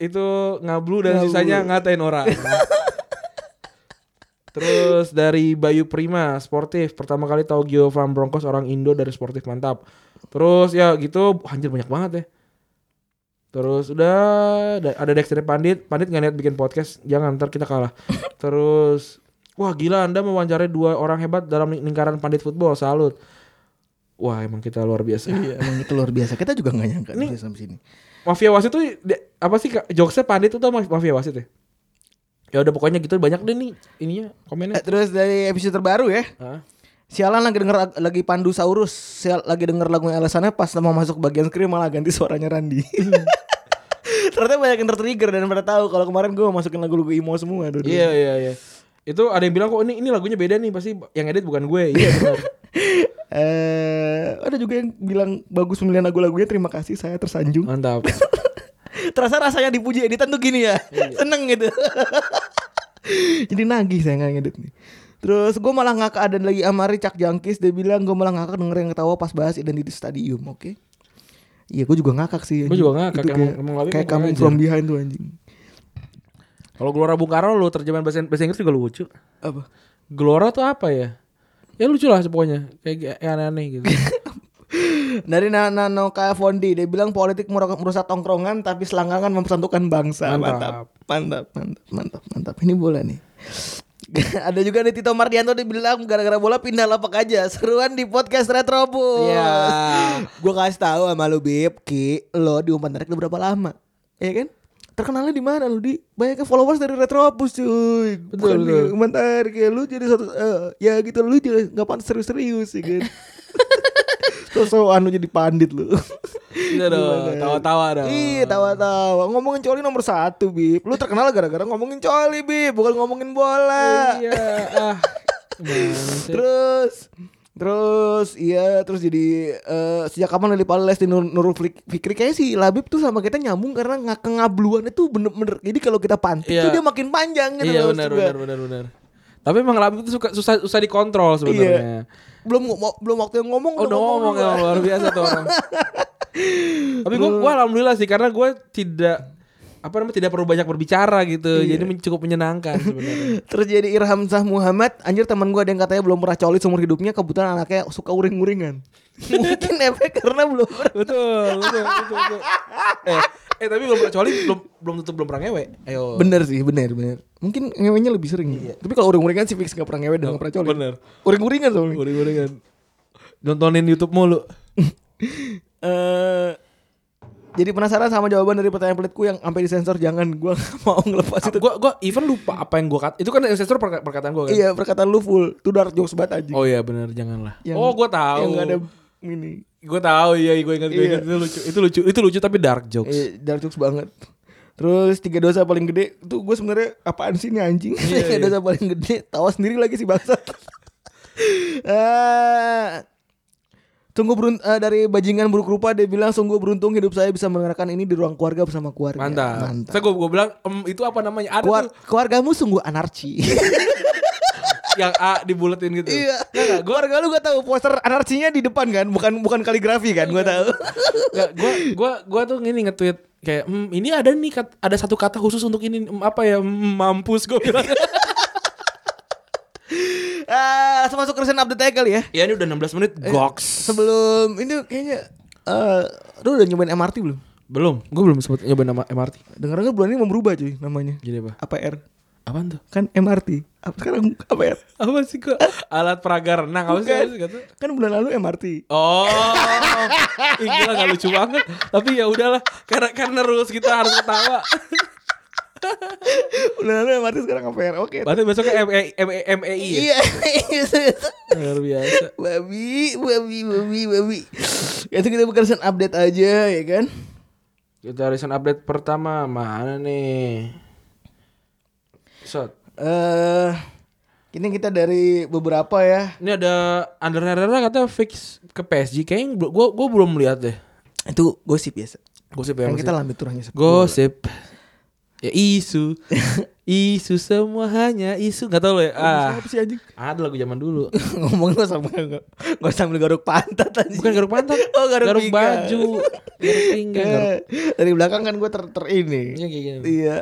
[SPEAKER 3] itu ngablu dan sisanya ngatain orang. Terus dari Bayu Prima, sportif. Pertama kali tahu Giovan Broncos orang Indo dari sportif mantap. Terus ya gitu, anjir banyak banget ya. Terus udah da- ada Dex dari Pandit. Pandit nggak niat bikin podcast, jangan ntar kita kalah. Terus wah gila Anda mewawancarai dua orang hebat dalam ling- lingkaran Pandit Football. Salut. Wah, emang kita luar biasa.
[SPEAKER 2] Iya, emang itu luar biasa. Kita juga nggak nyangka bisa sampai sini.
[SPEAKER 3] Mafia Wasit tuh di- apa sih Kak? jokesnya Pandit itu Mafia Wasit ya? Ya udah pokoknya gitu banyak deh nih ininya
[SPEAKER 2] Eh,
[SPEAKER 3] komennya.
[SPEAKER 2] terus dari episode terbaru ya.
[SPEAKER 3] Hah?
[SPEAKER 2] Sialan lagi denger lagi Pandu Saurus, Sial, lagi denger lagu alasannya pas mau masuk bagian screen malah ganti suaranya Randi. Ternyata banyak yang tertrigger dan pada tahu kalau kemarin gue masukin lagu-lagu emo semua dulu.
[SPEAKER 3] Iya iya iya. Itu ada yang bilang kok ini ini lagunya beda nih pasti yang edit bukan gue. Iya benar.
[SPEAKER 2] Eh, ada juga yang bilang bagus pemilihan lagu-lagunya. Terima kasih, saya tersanjung.
[SPEAKER 3] Mantap.
[SPEAKER 2] Terasa rasanya dipuji editan tuh gini ya.
[SPEAKER 3] Iya.
[SPEAKER 2] Seneng gitu. Jadi nagih saya nggak ngedit nih. Terus gue malah nggak keadaan lagi Amari Cak Jangkis dia bilang gue malah ngakak denger yang ketawa pas bahas identity stadium, oke? Iya gue juga ngakak sih.
[SPEAKER 3] Gua
[SPEAKER 2] anjing.
[SPEAKER 3] juga ngakak,
[SPEAKER 2] Itu
[SPEAKER 3] emang-
[SPEAKER 2] kayak,
[SPEAKER 3] emang Labi
[SPEAKER 2] kayak
[SPEAKER 3] emang
[SPEAKER 2] coming
[SPEAKER 3] ngajar.
[SPEAKER 2] from behind tuh anjing.
[SPEAKER 3] Kalau Gelora Bung Karno lu terjemahan bahasa, bahasa Inggris juga lucu.
[SPEAKER 2] Apa?
[SPEAKER 3] Gelora tuh apa ya? Ya lucu lah pokoknya. Kayak kayak aneh-aneh gitu.
[SPEAKER 2] Dari Nana Noka Fondi dia bilang politik merok- merusak tongkrongan tapi selangkangan mempersatukan bangsa. Mantap.
[SPEAKER 3] Mantap.
[SPEAKER 2] Mantap, mantap, mantap, mantap. Ini bola nih. Ada juga nih Tito Mardianto dia bilang gara-gara bola pindah lapak aja. Seruan di podcast Retrobus.
[SPEAKER 3] Iya.
[SPEAKER 2] Gue kasih tahu sama lu Bib, Ki, lo di umpan tarik lu berapa lama? Iya kan? Terkenalnya di mana lu di banyaknya followers dari Retrobus cuy. Bukan
[SPEAKER 3] Betul,
[SPEAKER 2] di
[SPEAKER 3] betul.
[SPEAKER 2] umpan tarik ya lu jadi satu eh, ya gitu lu jadi nggak pantas serius-serius ya kan. Sosok anu jadi pandit lu.
[SPEAKER 3] Iya dong,
[SPEAKER 2] Gimana?
[SPEAKER 3] tawa-tawa dong.
[SPEAKER 2] Iya, tawa-tawa. Ngomongin coli nomor satu, Bib. Lu terkenal gara-gara ngomongin coli, Bib. Bukan ngomongin bola.
[SPEAKER 3] Iya. Ah. Bangsa.
[SPEAKER 2] Terus Terus iya terus jadi eh, sejak kapan Lili Pales di Nur, Nurul Fik- Fikri kayak si Labib tuh sama kita nyambung karena nggak kengabluan itu bener-bener jadi kalau kita pantik
[SPEAKER 3] Iya.
[SPEAKER 2] tuh dia makin panjang gitu
[SPEAKER 3] Iya
[SPEAKER 2] loh, maksud
[SPEAKER 3] benar
[SPEAKER 2] gua.
[SPEAKER 3] benar benar benar. Tapi emang Labib itu suka susah susah dikontrol sebenarnya.
[SPEAKER 2] belum ngo- belum waktu yang ngomong
[SPEAKER 3] Oh, udah ngomong
[SPEAKER 2] dulu.
[SPEAKER 3] emang luar biasa tuh orang. Tapi gue gua alhamdulillah sih karena gue tidak apa namanya tidak perlu banyak berbicara gitu. Jadi men- cukup menyenangkan sebenarnya.
[SPEAKER 2] Terus jadi Irham Shah Muhammad Anjir teman gue ada yang katanya belum pernah coli seumur hidupnya Kebetulan anaknya suka uring-uringan Mungkin efek karena belum pernah
[SPEAKER 3] betul, betul, betul, betul. Eh, eh tapi belum kecuali belum belum tutup belum pernah ngewe. Ayo.
[SPEAKER 2] Bener sih, bener, bener. Mungkin ngewenya lebih sering. Tapi kalau uring-uringan sih fix gak pernah ngewe dan gak pernah coli.
[SPEAKER 3] Iya. bener.
[SPEAKER 2] Uring-uringan soalnya.
[SPEAKER 3] Uring-uringan. Nontonin YouTube mulu.
[SPEAKER 2] Eh, jadi penasaran sama jawaban dari pertanyaan pelitku yang sampai disensor jangan gua nggak mau ngelepas itu.
[SPEAKER 3] Gue gua even lupa apa yang gue kata. Itu kan ancestor perka- perkataan gue kan.
[SPEAKER 2] Iya, perkataan lu full. Itu dark jokes banget aja.
[SPEAKER 3] Oh iya benar janganlah.
[SPEAKER 2] Yang-
[SPEAKER 3] oh gue tahu.
[SPEAKER 2] Yang gak ada ini.
[SPEAKER 3] Gue tahu iya gue ingat gue ingat itu lucu. Itu lucu itu lucu tapi dark jokes.
[SPEAKER 2] Eh, dark jokes banget. Terus tiga dosa paling gede tuh gue sebenarnya apaan sih ini anjing? tiga
[SPEAKER 3] iya.
[SPEAKER 2] dosa paling gede tawa sendiri lagi si bangsa. Eh, tunggu berunt eh, dari bajingan buruk rupa dia bilang sungguh beruntung hidup saya bisa mengenakan ini di ruang keluarga bersama keluarga.
[SPEAKER 3] Mantap.
[SPEAKER 2] Mantap.
[SPEAKER 3] Saya gue gue bilang em, itu apa namanya? Ada
[SPEAKER 2] Keluar-
[SPEAKER 3] tuh Iya.
[SPEAKER 2] keluargamu sungguh anarki.
[SPEAKER 3] yang A dibuletin gitu.
[SPEAKER 2] iya. Keluarga lu gak tahu poster anarkinya di depan kan, bukan bukan kaligrafi kan,
[SPEAKER 3] Iya.
[SPEAKER 2] gue tahu.
[SPEAKER 3] Nggak, gua gua gua tuh gini nge-tweet kayak "Hmm, ini ada nih kat- ada satu kata khusus untuk ini Hmm, apa ya Hmm, mampus gue bilang.
[SPEAKER 2] Eh, langsung masuk ke recent update aja kali ya.
[SPEAKER 3] ya ini udah 16 menit goks.
[SPEAKER 2] Sebelum ini kayaknya eh lu udah nyobain MRT belum?
[SPEAKER 3] Belum, gue belum sempat nyoba nama MRT.
[SPEAKER 2] Dengar-dengar bulan ini mau berubah cuy namanya.
[SPEAKER 3] Jadi apa?
[SPEAKER 2] APR.
[SPEAKER 3] Apaan tuh?
[SPEAKER 2] Kan MRT. Apa sekarang APR?
[SPEAKER 3] Apa sih kok alat praga renang apa
[SPEAKER 2] Bukan.
[SPEAKER 3] sih? Apa sih kata?
[SPEAKER 2] Kan bulan lalu MRT.
[SPEAKER 3] Oh, Ih, gila gak lucu banget. Tapi ya udahlah, karena karena rules kita harus ketawa.
[SPEAKER 2] Bulan lalu MRT sekarang APR. Oke.
[SPEAKER 3] Berarti besoknya M M M E I.
[SPEAKER 2] Iya.
[SPEAKER 3] Luar biasa.
[SPEAKER 2] babi, babi, babi, babi. Ya itu kita bukan recent update aja ya kan.
[SPEAKER 3] Kita recent update pertama mana nih? Shot.
[SPEAKER 2] Eh ini kita dari beberapa ya.
[SPEAKER 3] Ini ada Under Herrera katanya fix ke PSG. Kayaknya bel- gua gua belum lihat deh.
[SPEAKER 2] Itu gosip biasa.
[SPEAKER 3] Gosip ya.
[SPEAKER 2] Kan kita
[SPEAKER 3] maksudnya.
[SPEAKER 2] lambe turangnya
[SPEAKER 3] Gosip. Ya isu. isu semua hanya isu. Gak tau lo ya. Ah.
[SPEAKER 2] Apa sih anjing?
[SPEAKER 3] Ada lagu zaman dulu.
[SPEAKER 2] Ngomongin lo sama Gue sambil garuk pantat anjing.
[SPEAKER 3] Bukan garuk pantat.
[SPEAKER 2] Oh, garuk pinggang.
[SPEAKER 3] baju. Garuk pinggang. garuk-
[SPEAKER 2] Eh, dari belakang kan gue ter, ter ini
[SPEAKER 3] Iya, kayak gini.
[SPEAKER 2] iya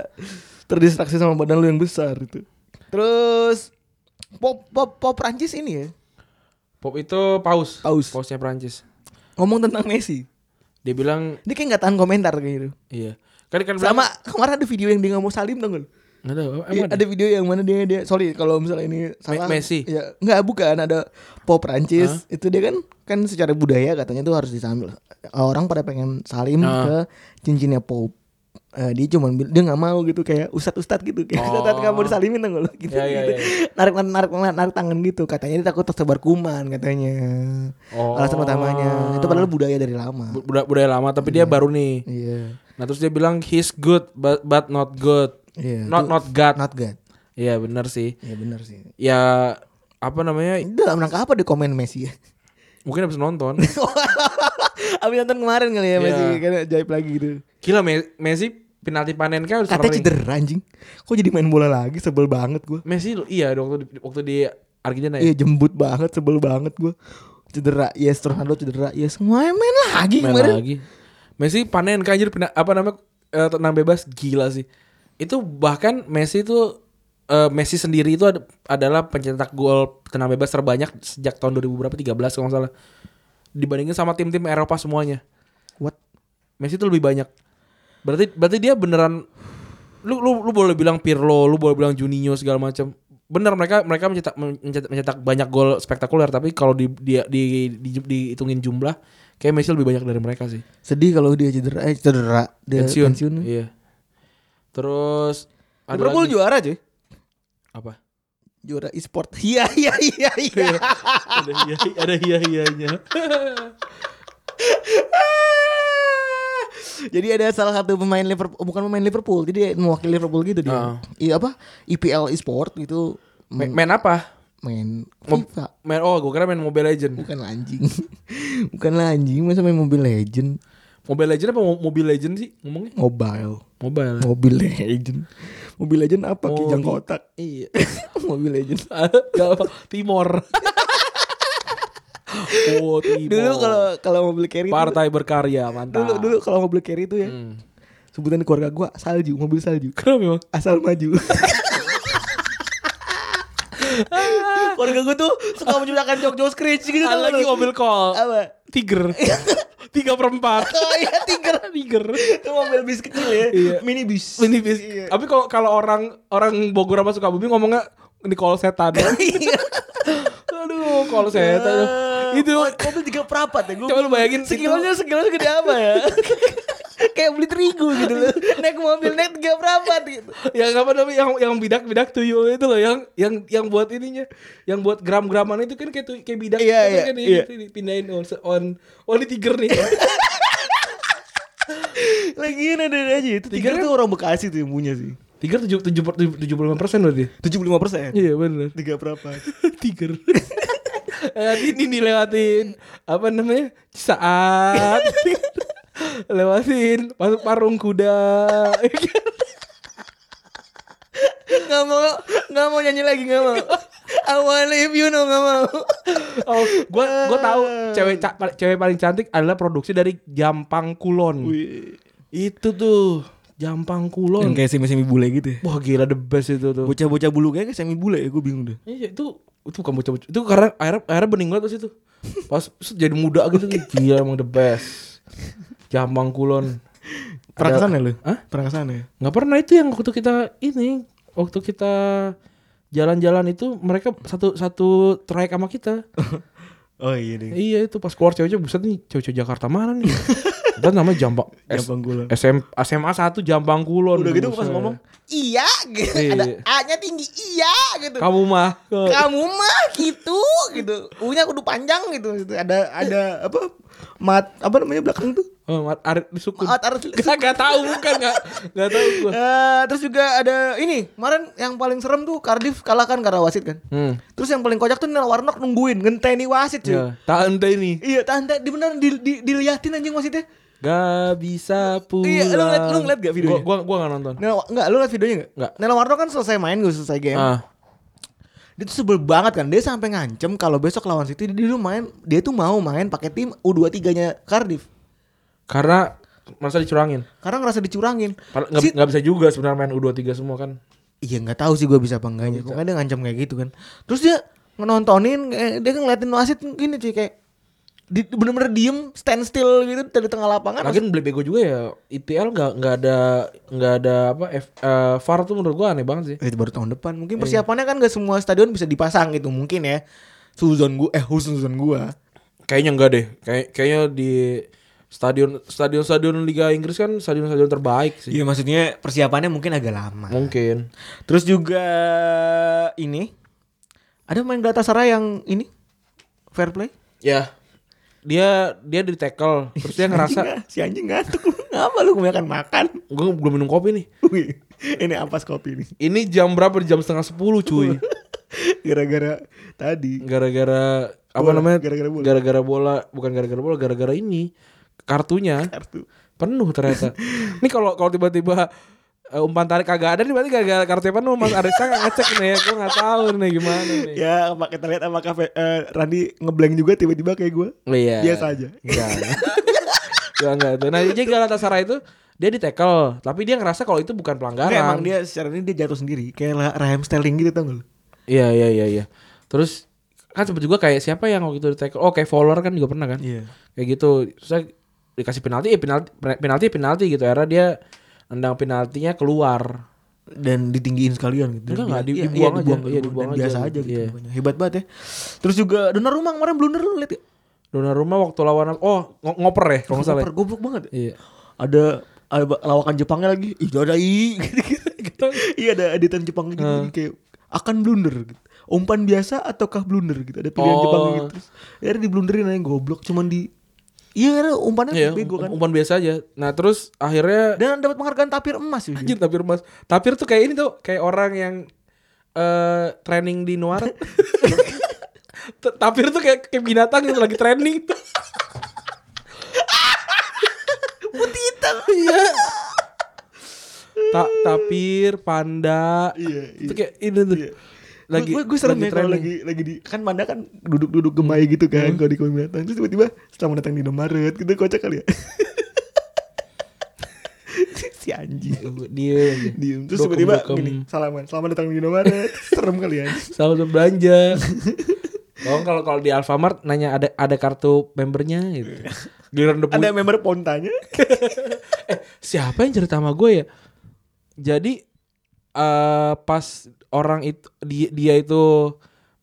[SPEAKER 2] terdistraksi sama badan lu yang besar itu terus pop pop pop Prancis ini ya
[SPEAKER 3] Pop itu paus.
[SPEAKER 2] Paus.
[SPEAKER 3] Pausnya Prancis.
[SPEAKER 2] ngomong tentang Messi
[SPEAKER 3] Dia bilang
[SPEAKER 2] dia kayak nggak tahan komentar kayak gitu
[SPEAKER 3] iya. Kan kan bilang-
[SPEAKER 2] sama kemarin ada video yang dia nggak mau salim dong lu
[SPEAKER 3] Nggak tahu,
[SPEAKER 2] Iya,
[SPEAKER 3] emang ada.
[SPEAKER 2] ada video yang mana dia dia sorry kalau misalnya ini salah
[SPEAKER 3] Messi.
[SPEAKER 2] ya nggak bukan ada pop Prancis itu dia kan kan secara budaya katanya tuh harus disambil orang pada pengen salim
[SPEAKER 3] Ah.
[SPEAKER 2] ke cincinnya pop Eh, dia cuman bil- dia nggak mau gitu kayak ustad ustad gitu kayak
[SPEAKER 3] Oh.
[SPEAKER 2] ustad nggak mau disalimin dong lo gitu,
[SPEAKER 3] Ya, ya,
[SPEAKER 2] gitu.
[SPEAKER 3] ya.
[SPEAKER 2] narik narik narik narik tangan gitu katanya dia takut tersebar kuman katanya
[SPEAKER 3] Oh.
[SPEAKER 2] alasan utamanya itu padahal budaya dari lama
[SPEAKER 3] Bu- buda- budaya lama tapi dia baru nih.
[SPEAKER 2] iya
[SPEAKER 3] Nah terus dia bilang he's good but, but not good.
[SPEAKER 2] Iya,
[SPEAKER 3] not
[SPEAKER 2] itu-
[SPEAKER 3] not God.
[SPEAKER 2] not good
[SPEAKER 3] Iya benar sih.
[SPEAKER 2] Ya benar sih.
[SPEAKER 3] Ya apa namanya?
[SPEAKER 2] Ini dalam rangka apa di komen Messi ya?
[SPEAKER 3] Mungkin habis nonton.
[SPEAKER 2] Abis nonton kemarin kali ya
[SPEAKER 3] Iya.
[SPEAKER 2] Messi karena jaib lagi gitu.
[SPEAKER 3] Gila Me- Messi penalti panen kan
[SPEAKER 2] Katanya cedera anjing. Kok jadi main bola lagi sebel banget gue.
[SPEAKER 3] Messi iya waktu di, waktu di Argentina ya.
[SPEAKER 2] Iya jembut banget sebel banget gue. Cedera, yes Ronaldo cedera, yes main main lagi
[SPEAKER 3] Main
[SPEAKER 2] kemarin.
[SPEAKER 3] lagi. Messi panen kan anjir pena- apa namanya eh, tenang bebas gila sih. Itu bahkan Messi itu eh, Messi sendiri itu ad- adalah pencetak gol tenang bebas terbanyak sejak tahun 2000 berapa 13 kalau nggak salah. Dibandingin sama tim-tim Eropa semuanya.
[SPEAKER 2] What?
[SPEAKER 3] Messi itu lebih banyak. Berarti berarti dia beneran lu lu lu boleh bilang Pirlo, lu boleh bilang Juninho segala macam. Bener mereka mereka mencetak mencetak, mencetak banyak gol spektakuler tapi kalau di dia di, di- dihitungin jumlah kayak Messi lebih banyak dari mereka sih.
[SPEAKER 2] Sedih kalau dia cedera, eh cedera dia
[SPEAKER 3] Pensiun.
[SPEAKER 2] pensiun.
[SPEAKER 3] Iya. Terus ada
[SPEAKER 2] Liverpool
[SPEAKER 3] lagi-
[SPEAKER 2] juara cuy.
[SPEAKER 3] apa?
[SPEAKER 2] Juara e-sport. Iya iya iya iya.
[SPEAKER 3] ada iya ada iya iyanya.
[SPEAKER 2] Jadi ada salah satu pemain Liverpool, bukan pemain Liverpool, jadi dia mewakili Liverpool gitu dia.
[SPEAKER 3] Ah.
[SPEAKER 2] Iya apa? EPL e-sport gitu
[SPEAKER 3] Ma-
[SPEAKER 2] main,
[SPEAKER 3] Main apa?
[SPEAKER 2] FIFA.
[SPEAKER 3] Main oh gue kira main Mobile Legend.
[SPEAKER 2] Bukan anjing. bukan anjing, masa main Mobile Legend,
[SPEAKER 3] Mobile Legend apa Mo- Mobile Legend sih ngomongnya?
[SPEAKER 2] mobile.
[SPEAKER 3] Mobile.
[SPEAKER 2] Mobile Legend. Mobile Legend apa?
[SPEAKER 3] Mobi-
[SPEAKER 2] Kijang kotak.
[SPEAKER 3] Iya.
[SPEAKER 2] Mobile Legend.
[SPEAKER 3] Timor. oh, Timor.
[SPEAKER 2] Dulu kalau kalau Mobile Carry itu-
[SPEAKER 3] partai berkarya mantap.
[SPEAKER 2] dulu dulu kalau Mobile Carry itu ya.
[SPEAKER 3] Nah. Hmm.
[SPEAKER 2] Sebutan di keluarga gua salju, mobil salju.
[SPEAKER 3] Kenapa memang?
[SPEAKER 2] asal maju. Keluarga gue tuh suka menciptakan jok-jok scratch gitu
[SPEAKER 3] Ada
[SPEAKER 2] tau
[SPEAKER 3] lagi
[SPEAKER 2] lu.
[SPEAKER 3] mobil call.
[SPEAKER 2] Apa?
[SPEAKER 3] Tiger. Tiga per empat.
[SPEAKER 2] Oh iya tiger
[SPEAKER 3] Tiger.
[SPEAKER 2] Itu mobil bis kecil ya
[SPEAKER 3] Iya.
[SPEAKER 2] Mini bis
[SPEAKER 3] Ini bis.
[SPEAKER 2] Iya.
[SPEAKER 3] Tapi kalau kalau orang orang Bogor sama Sukabumi ngomongnya ini call setan.
[SPEAKER 2] Iya
[SPEAKER 3] Aduh, call setan. Itu
[SPEAKER 2] Oh, Mobil tiga perapat ya gua
[SPEAKER 3] Coba lu bayangin itu-
[SPEAKER 2] Sekilanya sekilanya gede apa ya Kayak beli terigu gitu loh Naik mobil naik tiga perapat gitu
[SPEAKER 3] yang apa namanya yang yang bidak-bidak tuyul itu loh yang yang yang buat ininya yang buat gram-graman itu kan kayak tuh- kayak bidak
[SPEAKER 2] Iya,
[SPEAKER 3] itu
[SPEAKER 2] iya,
[SPEAKER 3] kan yang
[SPEAKER 2] iya.
[SPEAKER 3] gitu nih, pindahin on on oh ini tiger nih
[SPEAKER 2] Lagian ada aja itu
[SPEAKER 3] Tiger
[SPEAKER 2] Tiger
[SPEAKER 3] kan-
[SPEAKER 2] tuh orang Bekasi tuh yang punya sih
[SPEAKER 3] tiger tujuh tujuh tujuh puluh lima persen loh dia
[SPEAKER 2] 75% persen
[SPEAKER 3] iya benar
[SPEAKER 2] Tiga perapat
[SPEAKER 3] tiger Eh, ini nih lewatin apa namanya saat lewatin masuk parung kuda
[SPEAKER 2] Gak mau Gak mau nyanyi lagi Gak mau I wanna leave you no Gak mau
[SPEAKER 3] oh gue gue tahu cewek ca- cewek paling cantik adalah produksi dari Jampang Kulon Itu tuh Jampang Kulon.
[SPEAKER 2] kayak semi-semi bule gitu ya
[SPEAKER 3] Wah gila the best itu tuh.
[SPEAKER 2] Bocah-bocah bulu kayaknya semi bule ya Gue bingung deh
[SPEAKER 3] Iya itu itu bukan bocah-bocah. Itu karena akhirnya akhirnya bening banget pas itu. Pas jadi muda gitu gila emang the best. Jampang Kulon.
[SPEAKER 2] Pernah
[SPEAKER 3] Ada-
[SPEAKER 2] kesana lu?
[SPEAKER 3] Hah?
[SPEAKER 2] Pernah kesana ya?
[SPEAKER 3] nggak pernah itu yang waktu kita ini waktu kita jalan-jalan itu mereka satu satu trayek sama kita.
[SPEAKER 2] Oh iya deh
[SPEAKER 3] iya itu pas keluar cewek-cewek buset nih cewek-cewek Jakarta mana nih? Dan namanya Jampang S-
[SPEAKER 2] Jampang Kulon.
[SPEAKER 3] SM, SMA 1 Jampang Kulon.
[SPEAKER 2] Udah gitu pas
[SPEAKER 3] Buset.
[SPEAKER 2] ngomong Iya gitu
[SPEAKER 3] Iya.
[SPEAKER 2] Ada A-nya tinggi Iya gitu
[SPEAKER 3] kamu mah
[SPEAKER 2] Kamu mah gitu gitu U-nya kudu panjang gitu gitu. Ada ada apa Mat apa namanya belakang tuh
[SPEAKER 3] Oh, Mat Arif di sukun.
[SPEAKER 2] Mat Arif di
[SPEAKER 3] Gak, gak tahu bukan gak gak tahu gua.
[SPEAKER 2] Eh, terus juga ada ini kemarin yang paling serem tuh Cardiff kalahkan karena wasit kan.
[SPEAKER 3] Hmm.
[SPEAKER 2] Terus yang paling kocak tuh Nel Warnock nungguin ngenteni wasit cuy.
[SPEAKER 3] Ya, tante ini
[SPEAKER 2] Iya, tante di bener di, di, diliatin anjing wasitnya.
[SPEAKER 3] gak bisa pulang.
[SPEAKER 2] Iya, lu ngeliat- lu ngeliat gak videonya?
[SPEAKER 3] Gua, gua, gua gak nonton.
[SPEAKER 2] Nel, enggak, lu liat videonya enggak?
[SPEAKER 3] Nggak.
[SPEAKER 2] Nel Warnock kan selesai main, gue selesai game.
[SPEAKER 3] Ah,
[SPEAKER 2] Dia tuh sebel banget kan. Dia sampai ngancem kalau besok lawan City dia dulu main, dia tuh mau main pakai tim U23-nya Cardiff.
[SPEAKER 3] karena masa dicurangin.
[SPEAKER 2] Karena ngerasa dicurangin.
[SPEAKER 3] Padahal Gak,
[SPEAKER 2] Si-
[SPEAKER 3] gak bisa juga sebenarnya main U23 semua kan.
[SPEAKER 2] Iya nggak tahu sih gue bisa apa enggaknya. Pokoknya dia ngancam kayak gitu kan. Terus dia nontonin, eh, dia ngeliatin wasit gini cuy kayak di, bener-bener diem standstill gitu dari tengah lapangan.
[SPEAKER 3] Lagian beli bego juga ya. IPL gak, gak ada gak ada apa F, eh, VAR tuh menurut gua aneh banget sih.
[SPEAKER 2] Eh, itu baru tahun depan mungkin persiapannya kan gak semua stadion bisa dipasang gitu mungkin ya. Suzon gua eh Suzon gua.
[SPEAKER 3] Kayaknya enggak deh. Kayak kayaknya di stadion stadion stadion Liga Inggris kan stadion stadion terbaik sih.
[SPEAKER 2] Iya maksudnya persiapannya mungkin agak lama.
[SPEAKER 3] Mungkin.
[SPEAKER 2] Terus juga ini ada main Galatasaray yang ini fair play
[SPEAKER 3] Ya. dia dia di tackle terus dia ngerasa
[SPEAKER 2] si anjing ngantuk lu ngapa lu kebanyakan makan
[SPEAKER 3] gue belum minum kopi nih
[SPEAKER 2] Wih, ini ampas kopi nih
[SPEAKER 3] ini jam berapa jam setengah sepuluh cuy
[SPEAKER 2] gara-gara tadi
[SPEAKER 3] gara-gara apa
[SPEAKER 2] Bola,
[SPEAKER 3] namanya
[SPEAKER 2] gara-gara bola.
[SPEAKER 3] gara-gara bola bukan gara-gara bola gara-gara ini kartunya
[SPEAKER 2] kartu
[SPEAKER 3] penuh ternyata ini kalau kalau tiba-tiba eh, umpan tarik kagak ada nih berarti gara-gara kartunya penuh mas Arista nggak ngecek nih ya gue nggak tahu nih gimana nih
[SPEAKER 2] ya sama- kita lihat sama kafe eh, Randi ngeblank juga tiba-tiba kayak gue
[SPEAKER 3] Iya.
[SPEAKER 2] biasa aja
[SPEAKER 3] Enggak. enggak, enggak itu. Nah, jadi Galatasaray itu dia di tackle, tapi dia ngerasa kalau itu bukan pelanggaran.
[SPEAKER 2] Nggak, emang dia secara ini dia jatuh sendiri kayak lah Raheem Sterling gitu tau gak lu
[SPEAKER 3] Iya, iya, iya, iya. Terus kan sempet juga kayak siapa yang waktu itu di tackle? Oh, kayak Fowler kan juga pernah kan?
[SPEAKER 2] Iya.
[SPEAKER 3] Kayak gitu. Terus saya dikasih penalti, eh penalti penalti penalti gitu. Akhirnya dia nendang penaltinya keluar.
[SPEAKER 2] dan ditinggiin sekalian gitu. Dibilang-
[SPEAKER 3] Enggak, enggak, di-
[SPEAKER 2] iya, iya,
[SPEAKER 3] dibuang aja.
[SPEAKER 2] dibuang,
[SPEAKER 3] Iya,
[SPEAKER 2] dibuang,
[SPEAKER 3] dibuang
[SPEAKER 2] dan
[SPEAKER 3] aja
[SPEAKER 2] biasa
[SPEAKER 3] gitu.
[SPEAKER 2] aja gitu.
[SPEAKER 3] Iya.
[SPEAKER 2] pokoknya. Hebat banget ya. Terus juga Donnarumma kemarin blunder lu lihat ya.
[SPEAKER 3] Donnarumma waktu lawan oh ngo- ngoper ya kalau nggak salah.
[SPEAKER 2] Ngoper, goblok banget.
[SPEAKER 3] Iya.
[SPEAKER 2] Ada ada lawakan Jepangnya lagi. Ih, ada i. Gitu. Iya ada editan Jepangnya gitu Jadi kayak akan blunder gitu. Umpan biasa ataukah blunder gitu. Ada pilihan
[SPEAKER 3] Oh.
[SPEAKER 2] Jepang gitu. Terus akhirnya diblunderin aja goblok cuman di Iya, akhirnya umpannya
[SPEAKER 3] Iya,
[SPEAKER 2] bego kan.
[SPEAKER 3] um- umpan biasa aja. Nah, terus akhirnya
[SPEAKER 2] Dan dapat penghargaan tapir emas ya.
[SPEAKER 3] Anjir tapir mas Tapir tuh kayak ini tuh Kayak orang yang eh Training di Nuar T- Tapir tuh kayak, kayak binatang gitu Lagi training
[SPEAKER 2] Putih hitam.
[SPEAKER 3] Iya Ta Tapir Panda
[SPEAKER 2] Iya, iya.
[SPEAKER 3] Itu kayak ini tuh Lagi
[SPEAKER 2] gue gue serem
[SPEAKER 3] lagi
[SPEAKER 2] ya kalau
[SPEAKER 3] training.
[SPEAKER 2] lagi lagi di kan Manda kan duduk-duduk gemai gitu kan kalau di kebun binatang terus tiba-tiba setelah datang di Indomaret gitu kocak kali ya si anjing
[SPEAKER 3] Dia aja.
[SPEAKER 2] diem terus
[SPEAKER 3] Dokem-
[SPEAKER 2] tiba-tiba
[SPEAKER 3] dokem.
[SPEAKER 2] gini salaman selamat datang di Indomaret serem kali ya
[SPEAKER 3] Selamat berbelanja Oh kalau kalau di Alfamart nanya ada ada kartu membernya gitu. Giliran udah
[SPEAKER 2] Iya. ada member pontanya
[SPEAKER 3] eh siapa yang cerita sama gue ya jadi eh pas orang itu dia, dia itu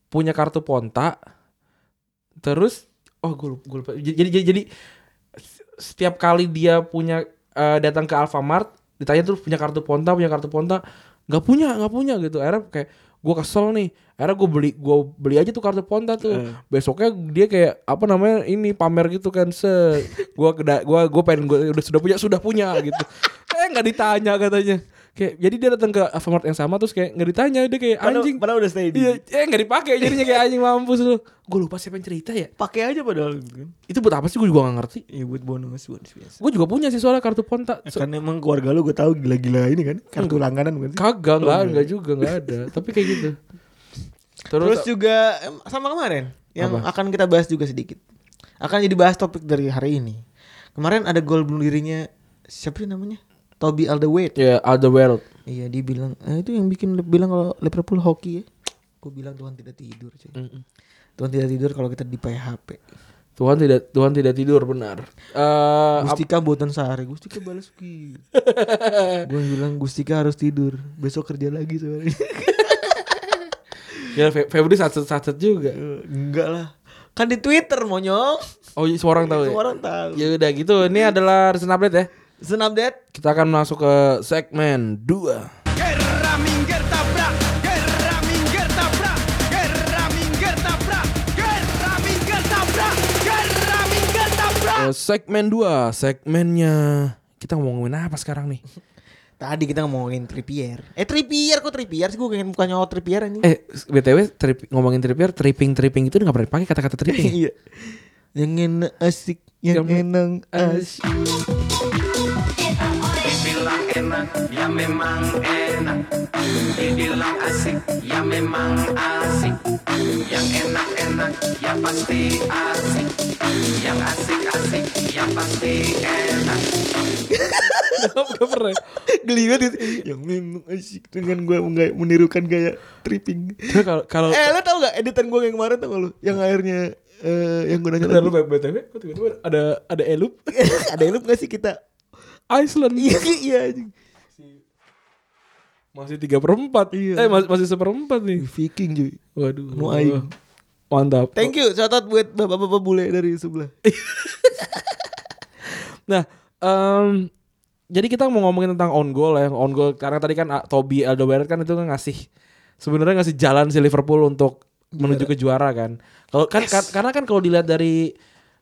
[SPEAKER 3] punya kartu ponta terus oh gue lupa, gue lupa. Jadi, jadi jadi setiap kali dia punya eh, datang ke Alfamart ditanya terus punya kartu ponta punya kartu ponta nggak punya nggak punya gitu akhirnya kayak gue kesel nih akhirnya gue beli gue beli aja tuh kartu ponta tuh besoknya dia kayak apa namanya ini pamer gitu kan se gue keda gue gue pengen gue udah sudah punya sudah punya gitu eh nggak ditanya katanya kayak jadi dia datang ke Alfamart yang sama terus kayak nggak ditanya dia kayak
[SPEAKER 2] Padahal-
[SPEAKER 3] anjing
[SPEAKER 2] padahal udah stay di
[SPEAKER 3] Iya, eh nggak dipakai jadinya kayak anjing mampus lu. Gue lupa siapa yang cerita ya.
[SPEAKER 2] pakai aja padahal gitu kan
[SPEAKER 3] Itu buat apa sih gue juga gak ngerti.
[SPEAKER 2] ya buat bonus buat biasa
[SPEAKER 3] Gue juga punya sih soalnya kartu ponta. So-
[SPEAKER 2] kan emang keluarga lu gue tahu gila-gila ini kan kartu langganan bukan sih?
[SPEAKER 3] Kagak, nggak nggak juga nggak ada. Tapi kayak gitu. Terus,
[SPEAKER 2] Terus juga em, sama kemarin yang akan kita bahas juga sedikit. Akan jadi bahas topik dari hari ini. Kemarin ada gol bunuh dirinya siapa sih namanya? Toby Alderweireld.
[SPEAKER 3] ya other world.
[SPEAKER 2] Iya, dia bilang "Eh, itu yang bikin Lip- bilang kalau Liverpool hoki ya. Gue bilang Tuhan tidak tidur, cuy. Tuhan tidak tidur kalau kita di PHP.
[SPEAKER 3] Tuhan tidak Tuhan tidak tidur benar. Eh ap-
[SPEAKER 2] Gustika buatan sehari, Gustika balas ki. gue bilang Gustika harus tidur, besok kerja lagi sebenarnya.
[SPEAKER 3] ya Fe- Febri satu-satu juga.
[SPEAKER 2] Eh, Enggak lah. Kan di Twitter monyong.
[SPEAKER 3] Oh, iya, semua orang tahu ya.
[SPEAKER 2] Semua orang tahu.
[SPEAKER 3] Ya udah gitu. Ini adalah recent update ya.
[SPEAKER 2] Senam update
[SPEAKER 3] Kita akan masuk ke segmen 2.
[SPEAKER 1] Guerra minggir tabrak, guerra minggir tabrak, guerra minggir tabrak, guerra minggir tabrak, guerra minggir tabrak.
[SPEAKER 3] Eh, segmen 2, segmennya kita ngomongin apa sekarang nih?
[SPEAKER 2] Tadi kita ngomongin Trippier. Eh Trippier kok Trippier sih gue pengen bukan nyawa Trippier anjing.
[SPEAKER 3] Eh, btw trip, ngomongin trippier, tripping tripping itu nggak pernah dipakai kata-kata tripping. ya?
[SPEAKER 2] iya. Yang enak asik, yang
[SPEAKER 3] Yang
[SPEAKER 2] enak
[SPEAKER 3] Iya.
[SPEAKER 2] asik.
[SPEAKER 1] Dibilang enak, ya memang enak. Dibilang asik, ya memang asik. Yang enak-enak, ya pasti asik. Yang asik-asik, ya pasti enak.
[SPEAKER 3] Nggak pernah.
[SPEAKER 2] Geli banget. itu. Yang enak asik dengan gue mengga- menirukan gaya tripping.
[SPEAKER 3] Tapi kalau kalau
[SPEAKER 2] eh lo tau gak editan gue yang kemarin tau gak lo? Yang akhirnya eh, yang gue nanya
[SPEAKER 3] Bentar,
[SPEAKER 2] lagi.
[SPEAKER 3] lu btw, kok tiba-tiba ada ada elup
[SPEAKER 2] Ada elup gak sih kita?
[SPEAKER 3] Iceland
[SPEAKER 2] Iya iya anjing.
[SPEAKER 3] masih tiga perempat.
[SPEAKER 2] Iya.
[SPEAKER 3] Eh masih masih seperempat nih.
[SPEAKER 2] Viking cuy.
[SPEAKER 3] Waduh.
[SPEAKER 2] Nu aing.
[SPEAKER 3] Mantap.
[SPEAKER 2] Thank you shout out buat bapak-bapak bule dari sebelah.
[SPEAKER 3] Nah, em, jadi kita mau ngomongin tentang on goal ya, on goal karena tadi kan ah, Toby Alderweireld kan itu kan ngasih sebenarnya ngasih jalan si Liverpool untuk menuju ke juara kan. Kalau kan kar- karena kan kalau kan dilihat dari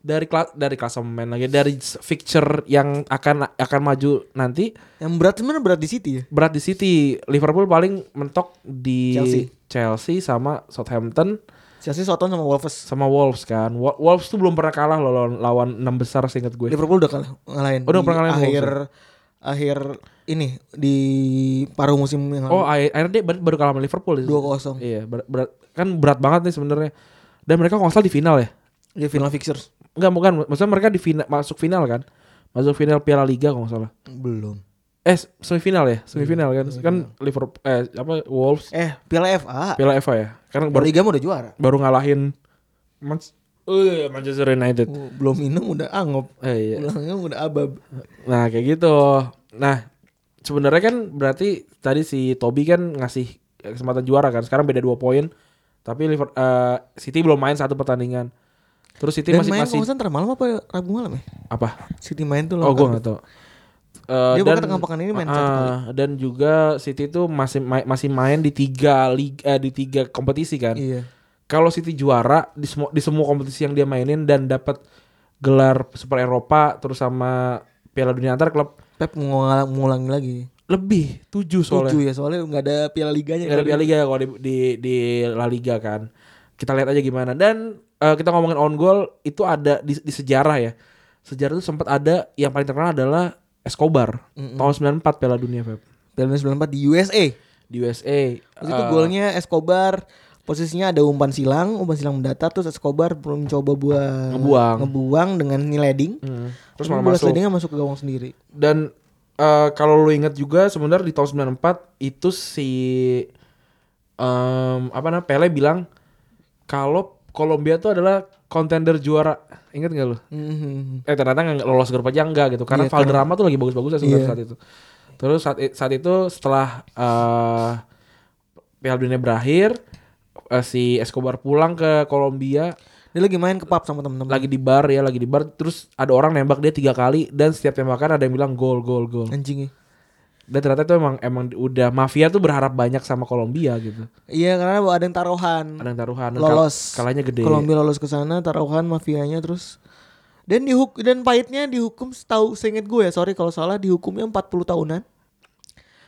[SPEAKER 3] dari kelas dari klasemen lagi dari s- fixture yang akan akan maju nanti
[SPEAKER 2] Yang berat sebenarnya berat di City ya.
[SPEAKER 3] berat di City. Liverpool paling mentok di
[SPEAKER 2] Chelsea.
[SPEAKER 3] Chelsea, sama Southampton
[SPEAKER 2] Chelsea Soton sama Wolves.
[SPEAKER 3] sama Wolves kan. Wo- Wolves tuh belum pernah kalah loh lawan, lawan 6 besar seingat gue.
[SPEAKER 2] Liverpool udah kalah ngalahin.
[SPEAKER 3] Oh, Udah
[SPEAKER 2] di
[SPEAKER 3] pernah ngalahin
[SPEAKER 2] akhir akhir ini di paruh musim yang
[SPEAKER 3] Oh,
[SPEAKER 2] lalu.
[SPEAKER 3] A- ARD ber- baru kalah sama Liverpool itu.
[SPEAKER 2] 2-0.
[SPEAKER 3] Iya, ber- berat- kan berat banget nih sebenarnya. Dan mereka kalau nggak salah di final ya.
[SPEAKER 2] Ya final fixtures.
[SPEAKER 3] Enggak, bukan. Maksudnya mereka di final masuk final kan. Masuk final Piala Liga kalau nggak salah.
[SPEAKER 2] Belum.
[SPEAKER 3] Eh, semifinal ya, semifinal
[SPEAKER 2] Iya,
[SPEAKER 3] kan. Kan Liverpool eh apa Wolves
[SPEAKER 2] Eh, Piala FA.
[SPEAKER 3] Piala FA ya. Karena
[SPEAKER 2] Baru
[SPEAKER 3] baru
[SPEAKER 2] Liga mah udah juara.
[SPEAKER 3] baru ngalahin Manch- Eh, Manchester United.
[SPEAKER 2] Oh, Belum minum udah angop.
[SPEAKER 3] Eh, iya.
[SPEAKER 2] Pulangnya udah abab.
[SPEAKER 3] Nah kayak gitu. Nah sebenarnya kan berarti tadi si Toby kan ngasih kesempatan juara kan. Sekarang beda dua poin. Tapi Liver- eh, City belum main satu pertandingan. Terus City
[SPEAKER 2] Dan
[SPEAKER 3] masih
[SPEAKER 2] main kalau
[SPEAKER 3] masih
[SPEAKER 2] nggak salah ntar malam apa Rabu malam ya?
[SPEAKER 3] apa?
[SPEAKER 2] City main tuh lawan
[SPEAKER 3] Oh gue
[SPEAKER 2] Cardiff.
[SPEAKER 3] nggak tahu. Eh,
[SPEAKER 2] Dia pokoknya tengah pekan ini main satu
[SPEAKER 3] Ah,
[SPEAKER 2] kali.
[SPEAKER 3] dan juga City tuh masih ma- masih main di tiga liga eh, di tiga kompetisi kan.
[SPEAKER 2] Iya.
[SPEAKER 3] Kalau City juara di semua di semua kompetisi yang dia mainin dan dapat gelar Super Eropa terus sama Piala Dunia antar klub
[SPEAKER 2] Pep mau ngalang- mau ulangi lagi.
[SPEAKER 3] lebih tujuh soalnya.
[SPEAKER 2] Tujuh ya soalnya nggak ada Piala Liganya. kan.
[SPEAKER 3] Gak ada Piala Liga ya, kalau di, di, di La Liga kan. Kita lihat aja gimana. Dan eh, kita ngomongin on goal itu ada di, di sejarah ya. Sejarah itu sempat ada yang paling terkenal adalah Escobar tahun 94 Piala Dunia Feb
[SPEAKER 2] Piala Dunia 94 di USA.
[SPEAKER 3] di USA.
[SPEAKER 2] Terus itu
[SPEAKER 3] Eh,
[SPEAKER 2] golnya Escobar posisinya ada umpan silang, umpan silang mendatar terus Escobar belum coba buat
[SPEAKER 3] Ngebuang. Hmm.
[SPEAKER 2] ngebuang dengan nyeleding.
[SPEAKER 3] Terus
[SPEAKER 2] Terus
[SPEAKER 3] malah
[SPEAKER 2] bola
[SPEAKER 3] masuk.
[SPEAKER 2] seledingnya masuk ke gawang sendiri.
[SPEAKER 3] Dan eh, kalau lu ingat juga sebenarnya di tahun 94 itu si em, apa namanya Pele bilang kalau Kolombia itu adalah kontender juara. Ingat gak lu?
[SPEAKER 2] Mhm.
[SPEAKER 3] eh ternyata nggak lolos grup aja enggak gitu
[SPEAKER 2] Iya,
[SPEAKER 3] karena Valderrama tuh lagi bagus-bagusnya sebenarnya
[SPEAKER 2] Iya.
[SPEAKER 3] saat itu terus saat i- saat itu setelah eh Piala Dunia berakhir eh, si Escobar pulang ke Kolombia
[SPEAKER 2] Dia lagi main ke pub sama temen-temen.
[SPEAKER 3] lagi di bar ya lagi di bar terus ada orang nembak dia tiga kali dan setiap tembakan ada yang bilang gol gol gol
[SPEAKER 2] anjingnya.
[SPEAKER 3] dan ternyata itu emang emang udah mafia tuh berharap banyak sama Kolombia gitu
[SPEAKER 2] Iya karena ada yang taruhan.
[SPEAKER 3] ada yang taruhan dan kal-
[SPEAKER 2] lolos.
[SPEAKER 3] kalahnya gede
[SPEAKER 2] Kolombia lolos ke sana taruhan mafianya terus dan dihuk dan pahitnya dihukum setahu seinget gue ya sorry kalau salah dihukumnya 40 tahunan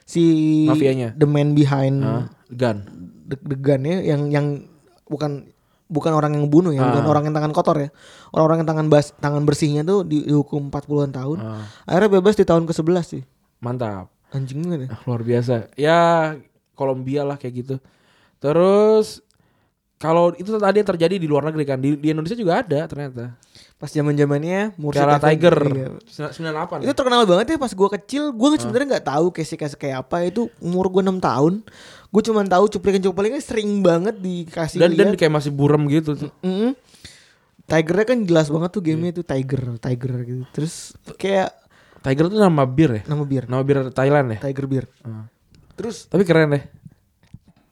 [SPEAKER 2] si
[SPEAKER 3] Mafianya.
[SPEAKER 2] the man behind
[SPEAKER 3] Hah? Gan
[SPEAKER 2] deg-degannya ya, yang yang bukan bukan orang yang bunuh
[SPEAKER 3] Ah.
[SPEAKER 2] ya, bukan orang yang tangan kotor ya. Orang-orang yang tangan bas, tangan bersihnya tuh di- dihukum 40-an tahun.
[SPEAKER 3] Ah.
[SPEAKER 2] Akhirnya bebas di tahun ke-11 sih.
[SPEAKER 3] mantap
[SPEAKER 2] Anjing banget ya.
[SPEAKER 3] Ah, luar biasa. Ya Kolombia lah kayak gitu. Terus kalau itu tadi yang terjadi di luar negeri kan di, di Indonesia juga ada ternyata.
[SPEAKER 2] Pas zaman-zamannya Mursid
[SPEAKER 3] Piala
[SPEAKER 2] FM,
[SPEAKER 3] Tiger
[SPEAKER 2] iya.
[SPEAKER 3] sembilan 98.
[SPEAKER 2] Itu terkenal banget ya pas gua kecil,
[SPEAKER 3] Ah.
[SPEAKER 2] gua sebenarnya nggak tahu case-case kayak apa itu umur gua 6 tahun. Gua cuma tahu cuplikan-cuplikannya sering banget dikasih
[SPEAKER 3] dan dan
[SPEAKER 2] lihat.
[SPEAKER 3] kayak masih buram gitu.
[SPEAKER 2] Mm-mm. Tigernya kan jelas banget tuh gamenya
[SPEAKER 3] Iya.
[SPEAKER 2] tuh Tiger, Tiger gitu. Terus kayak
[SPEAKER 3] Tiger tuh nama bir ya.
[SPEAKER 2] nama bir,
[SPEAKER 3] Nama bir Thailand ya.
[SPEAKER 2] Tiger Beer.
[SPEAKER 3] Terus tapi keren deh.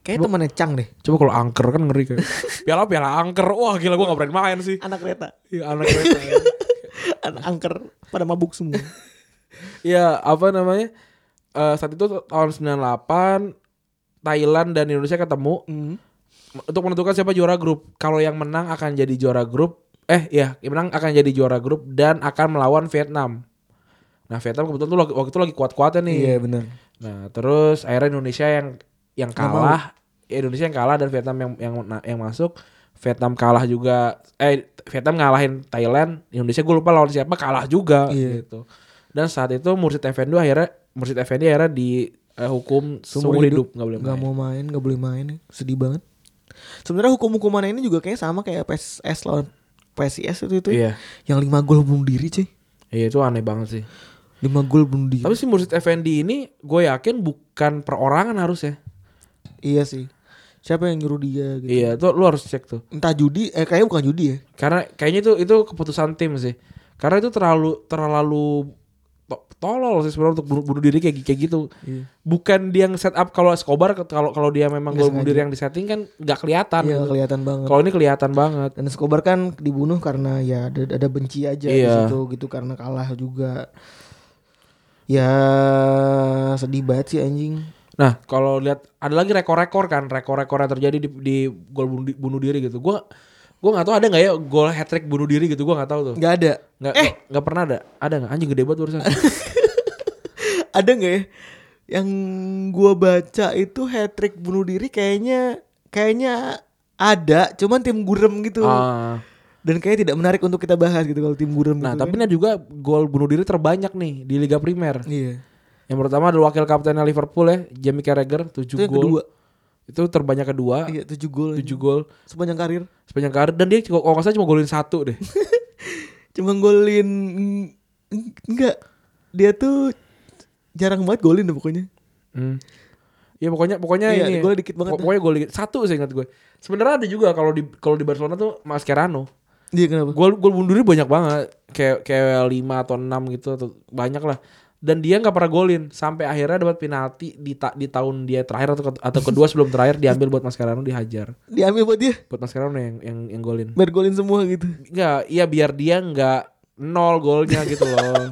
[SPEAKER 2] Kayak temannya Chang deh.
[SPEAKER 3] Coba kalau angker kan ngeri kayak. piala piala angker. Wah gila gua gak berani main sih.
[SPEAKER 2] anak kereta
[SPEAKER 3] Iya anak kereta.
[SPEAKER 2] anak angker pada mabuk semua
[SPEAKER 3] Iya apa namanya? Eh saat itu tahun 98 Thailand dan Indonesia ketemu. untuk menentukan siapa juara grup. Kalau yang menang akan jadi juara grup. Eh ya, yang menang akan jadi juara grup dan akan melawan Vietnam. Nah Vietnam kebetulan tuh lagi- waktu itu lagi kuat-kuatnya nih.
[SPEAKER 2] iya benar
[SPEAKER 3] Nah terus akhirnya Indonesia yang yang kalah, ya, Indonesia yang kalah dan Vietnam yang yang na- yang masuk. Vietnam kalah juga. Eh Vietnam ngalahin Thailand. Indonesia gue lupa lawan siapa kalah juga
[SPEAKER 2] Iya.
[SPEAKER 3] gitu. Dan saat itu Mursid Effendi akhirnya Mursid Effendi akhirnya dihukum seumur hidup nggak boleh
[SPEAKER 2] nggak
[SPEAKER 3] main.
[SPEAKER 2] mau main nggak boleh main sedih banget sebenarnya hukum hukuman ini juga kayaknya sama kayak PSS lawan PSIS itu itu ya.
[SPEAKER 3] Iya.
[SPEAKER 2] yang lima gol bunuh diri cuy
[SPEAKER 3] Iya itu aneh banget sih.
[SPEAKER 2] lima gol bunuh diri
[SPEAKER 3] Tapi si Mursid Effendi ini gue yakin bukan perorangan harusnya.
[SPEAKER 2] iya sih siapa yang nyuruh dia gitu
[SPEAKER 3] Iya, itu lu harus cek tuh.
[SPEAKER 2] entah judi eh kayaknya bukan judi ya
[SPEAKER 3] Karena kayaknya itu itu keputusan tim sih. Karena itu terlalu terlalu to- tolol sih sebenarnya untuk bunuh, bunuh diri kayak kayak gitu.
[SPEAKER 2] Iya.
[SPEAKER 3] Bukan dia yang set up kalau Escobar kalau kalau dia memang
[SPEAKER 2] Nggak
[SPEAKER 3] gol bunuh
[SPEAKER 2] sengaja.
[SPEAKER 3] diri yang disetting kan nggak kelihatan.
[SPEAKER 2] iya
[SPEAKER 3] gitu.
[SPEAKER 2] kelihatan banget
[SPEAKER 3] Kalau ini kelihatan banget.
[SPEAKER 2] dan Escobar kan dibunuh karena ya ada, ada benci aja di
[SPEAKER 3] Iya.
[SPEAKER 2] situ gitu karena kalah juga ya sedih banget sih anjing
[SPEAKER 3] Nah, kalau lihat ada lagi rekor-rekor kan, rekor-rekor yang terjadi di, di gol bunuh, di- bunuh diri gitu. Gua Gue nggak tahu ada nggak ya gol hat trick bunuh diri gitu. Gue nggak tahu tuh.
[SPEAKER 2] Nggak ada.
[SPEAKER 3] Nggak
[SPEAKER 2] eh,
[SPEAKER 3] nggak- nggak pernah ada. Ada nggak? Anjing gede banget barusan.
[SPEAKER 2] ada nggak ya? Yang gua baca itu hat trick bunuh diri kayaknya kayaknya ada, cuman tim gurem gitu.
[SPEAKER 3] Ah.
[SPEAKER 2] Dan kayaknya tidak menarik untuk kita bahas gitu kalau tim gurem
[SPEAKER 3] nah
[SPEAKER 2] gitu
[SPEAKER 3] tapi
[SPEAKER 2] kan.
[SPEAKER 3] ini juga gol bunuh diri terbanyak nih di Liga Primer.
[SPEAKER 2] Iya.
[SPEAKER 3] Yang pertama adalah wakil kaptennya Liverpool ya, Jamie Carragher 7
[SPEAKER 2] Itu yang
[SPEAKER 3] gol.
[SPEAKER 2] kedua.
[SPEAKER 3] Itu terbanyak kedua,
[SPEAKER 2] Iya, 7 gol.
[SPEAKER 3] 7 gol
[SPEAKER 2] Sepanjang karir.
[SPEAKER 3] sepanjang karir dan dia kalau nggak salah cuma golin satu deh.
[SPEAKER 2] Cuma golin eng- enggak. Dia tuh jarang banget golin deh pokoknya.
[SPEAKER 3] Hmm. Ya pokoknya pokoknya
[SPEAKER 2] Iya,
[SPEAKER 3] ini.
[SPEAKER 2] golnya dikit banget
[SPEAKER 3] Pok- Pokoknya gol dikit. Satu saya ingat gue. Sebenarnya ada juga kalau di kalau di Barcelona tuh Mascherano.
[SPEAKER 2] Iya kenapa?
[SPEAKER 3] Gol gol bunuh diri banyak banget. Kayak kayak 5 atau 6 gitu atau banyak lah. Dan dia nggak pernah golin sampai akhirnya dapat penalti di ta- di tahun dia terakhir atau atau kedua sebelum terakhir diambil buat Mascherano dihajar.
[SPEAKER 2] Diambil buat dia
[SPEAKER 3] Buat Mascherano yang yang yang golin.
[SPEAKER 2] biar golin semua gitu.
[SPEAKER 3] Enggak, iya biar dia nggak nol golnya gitu loh.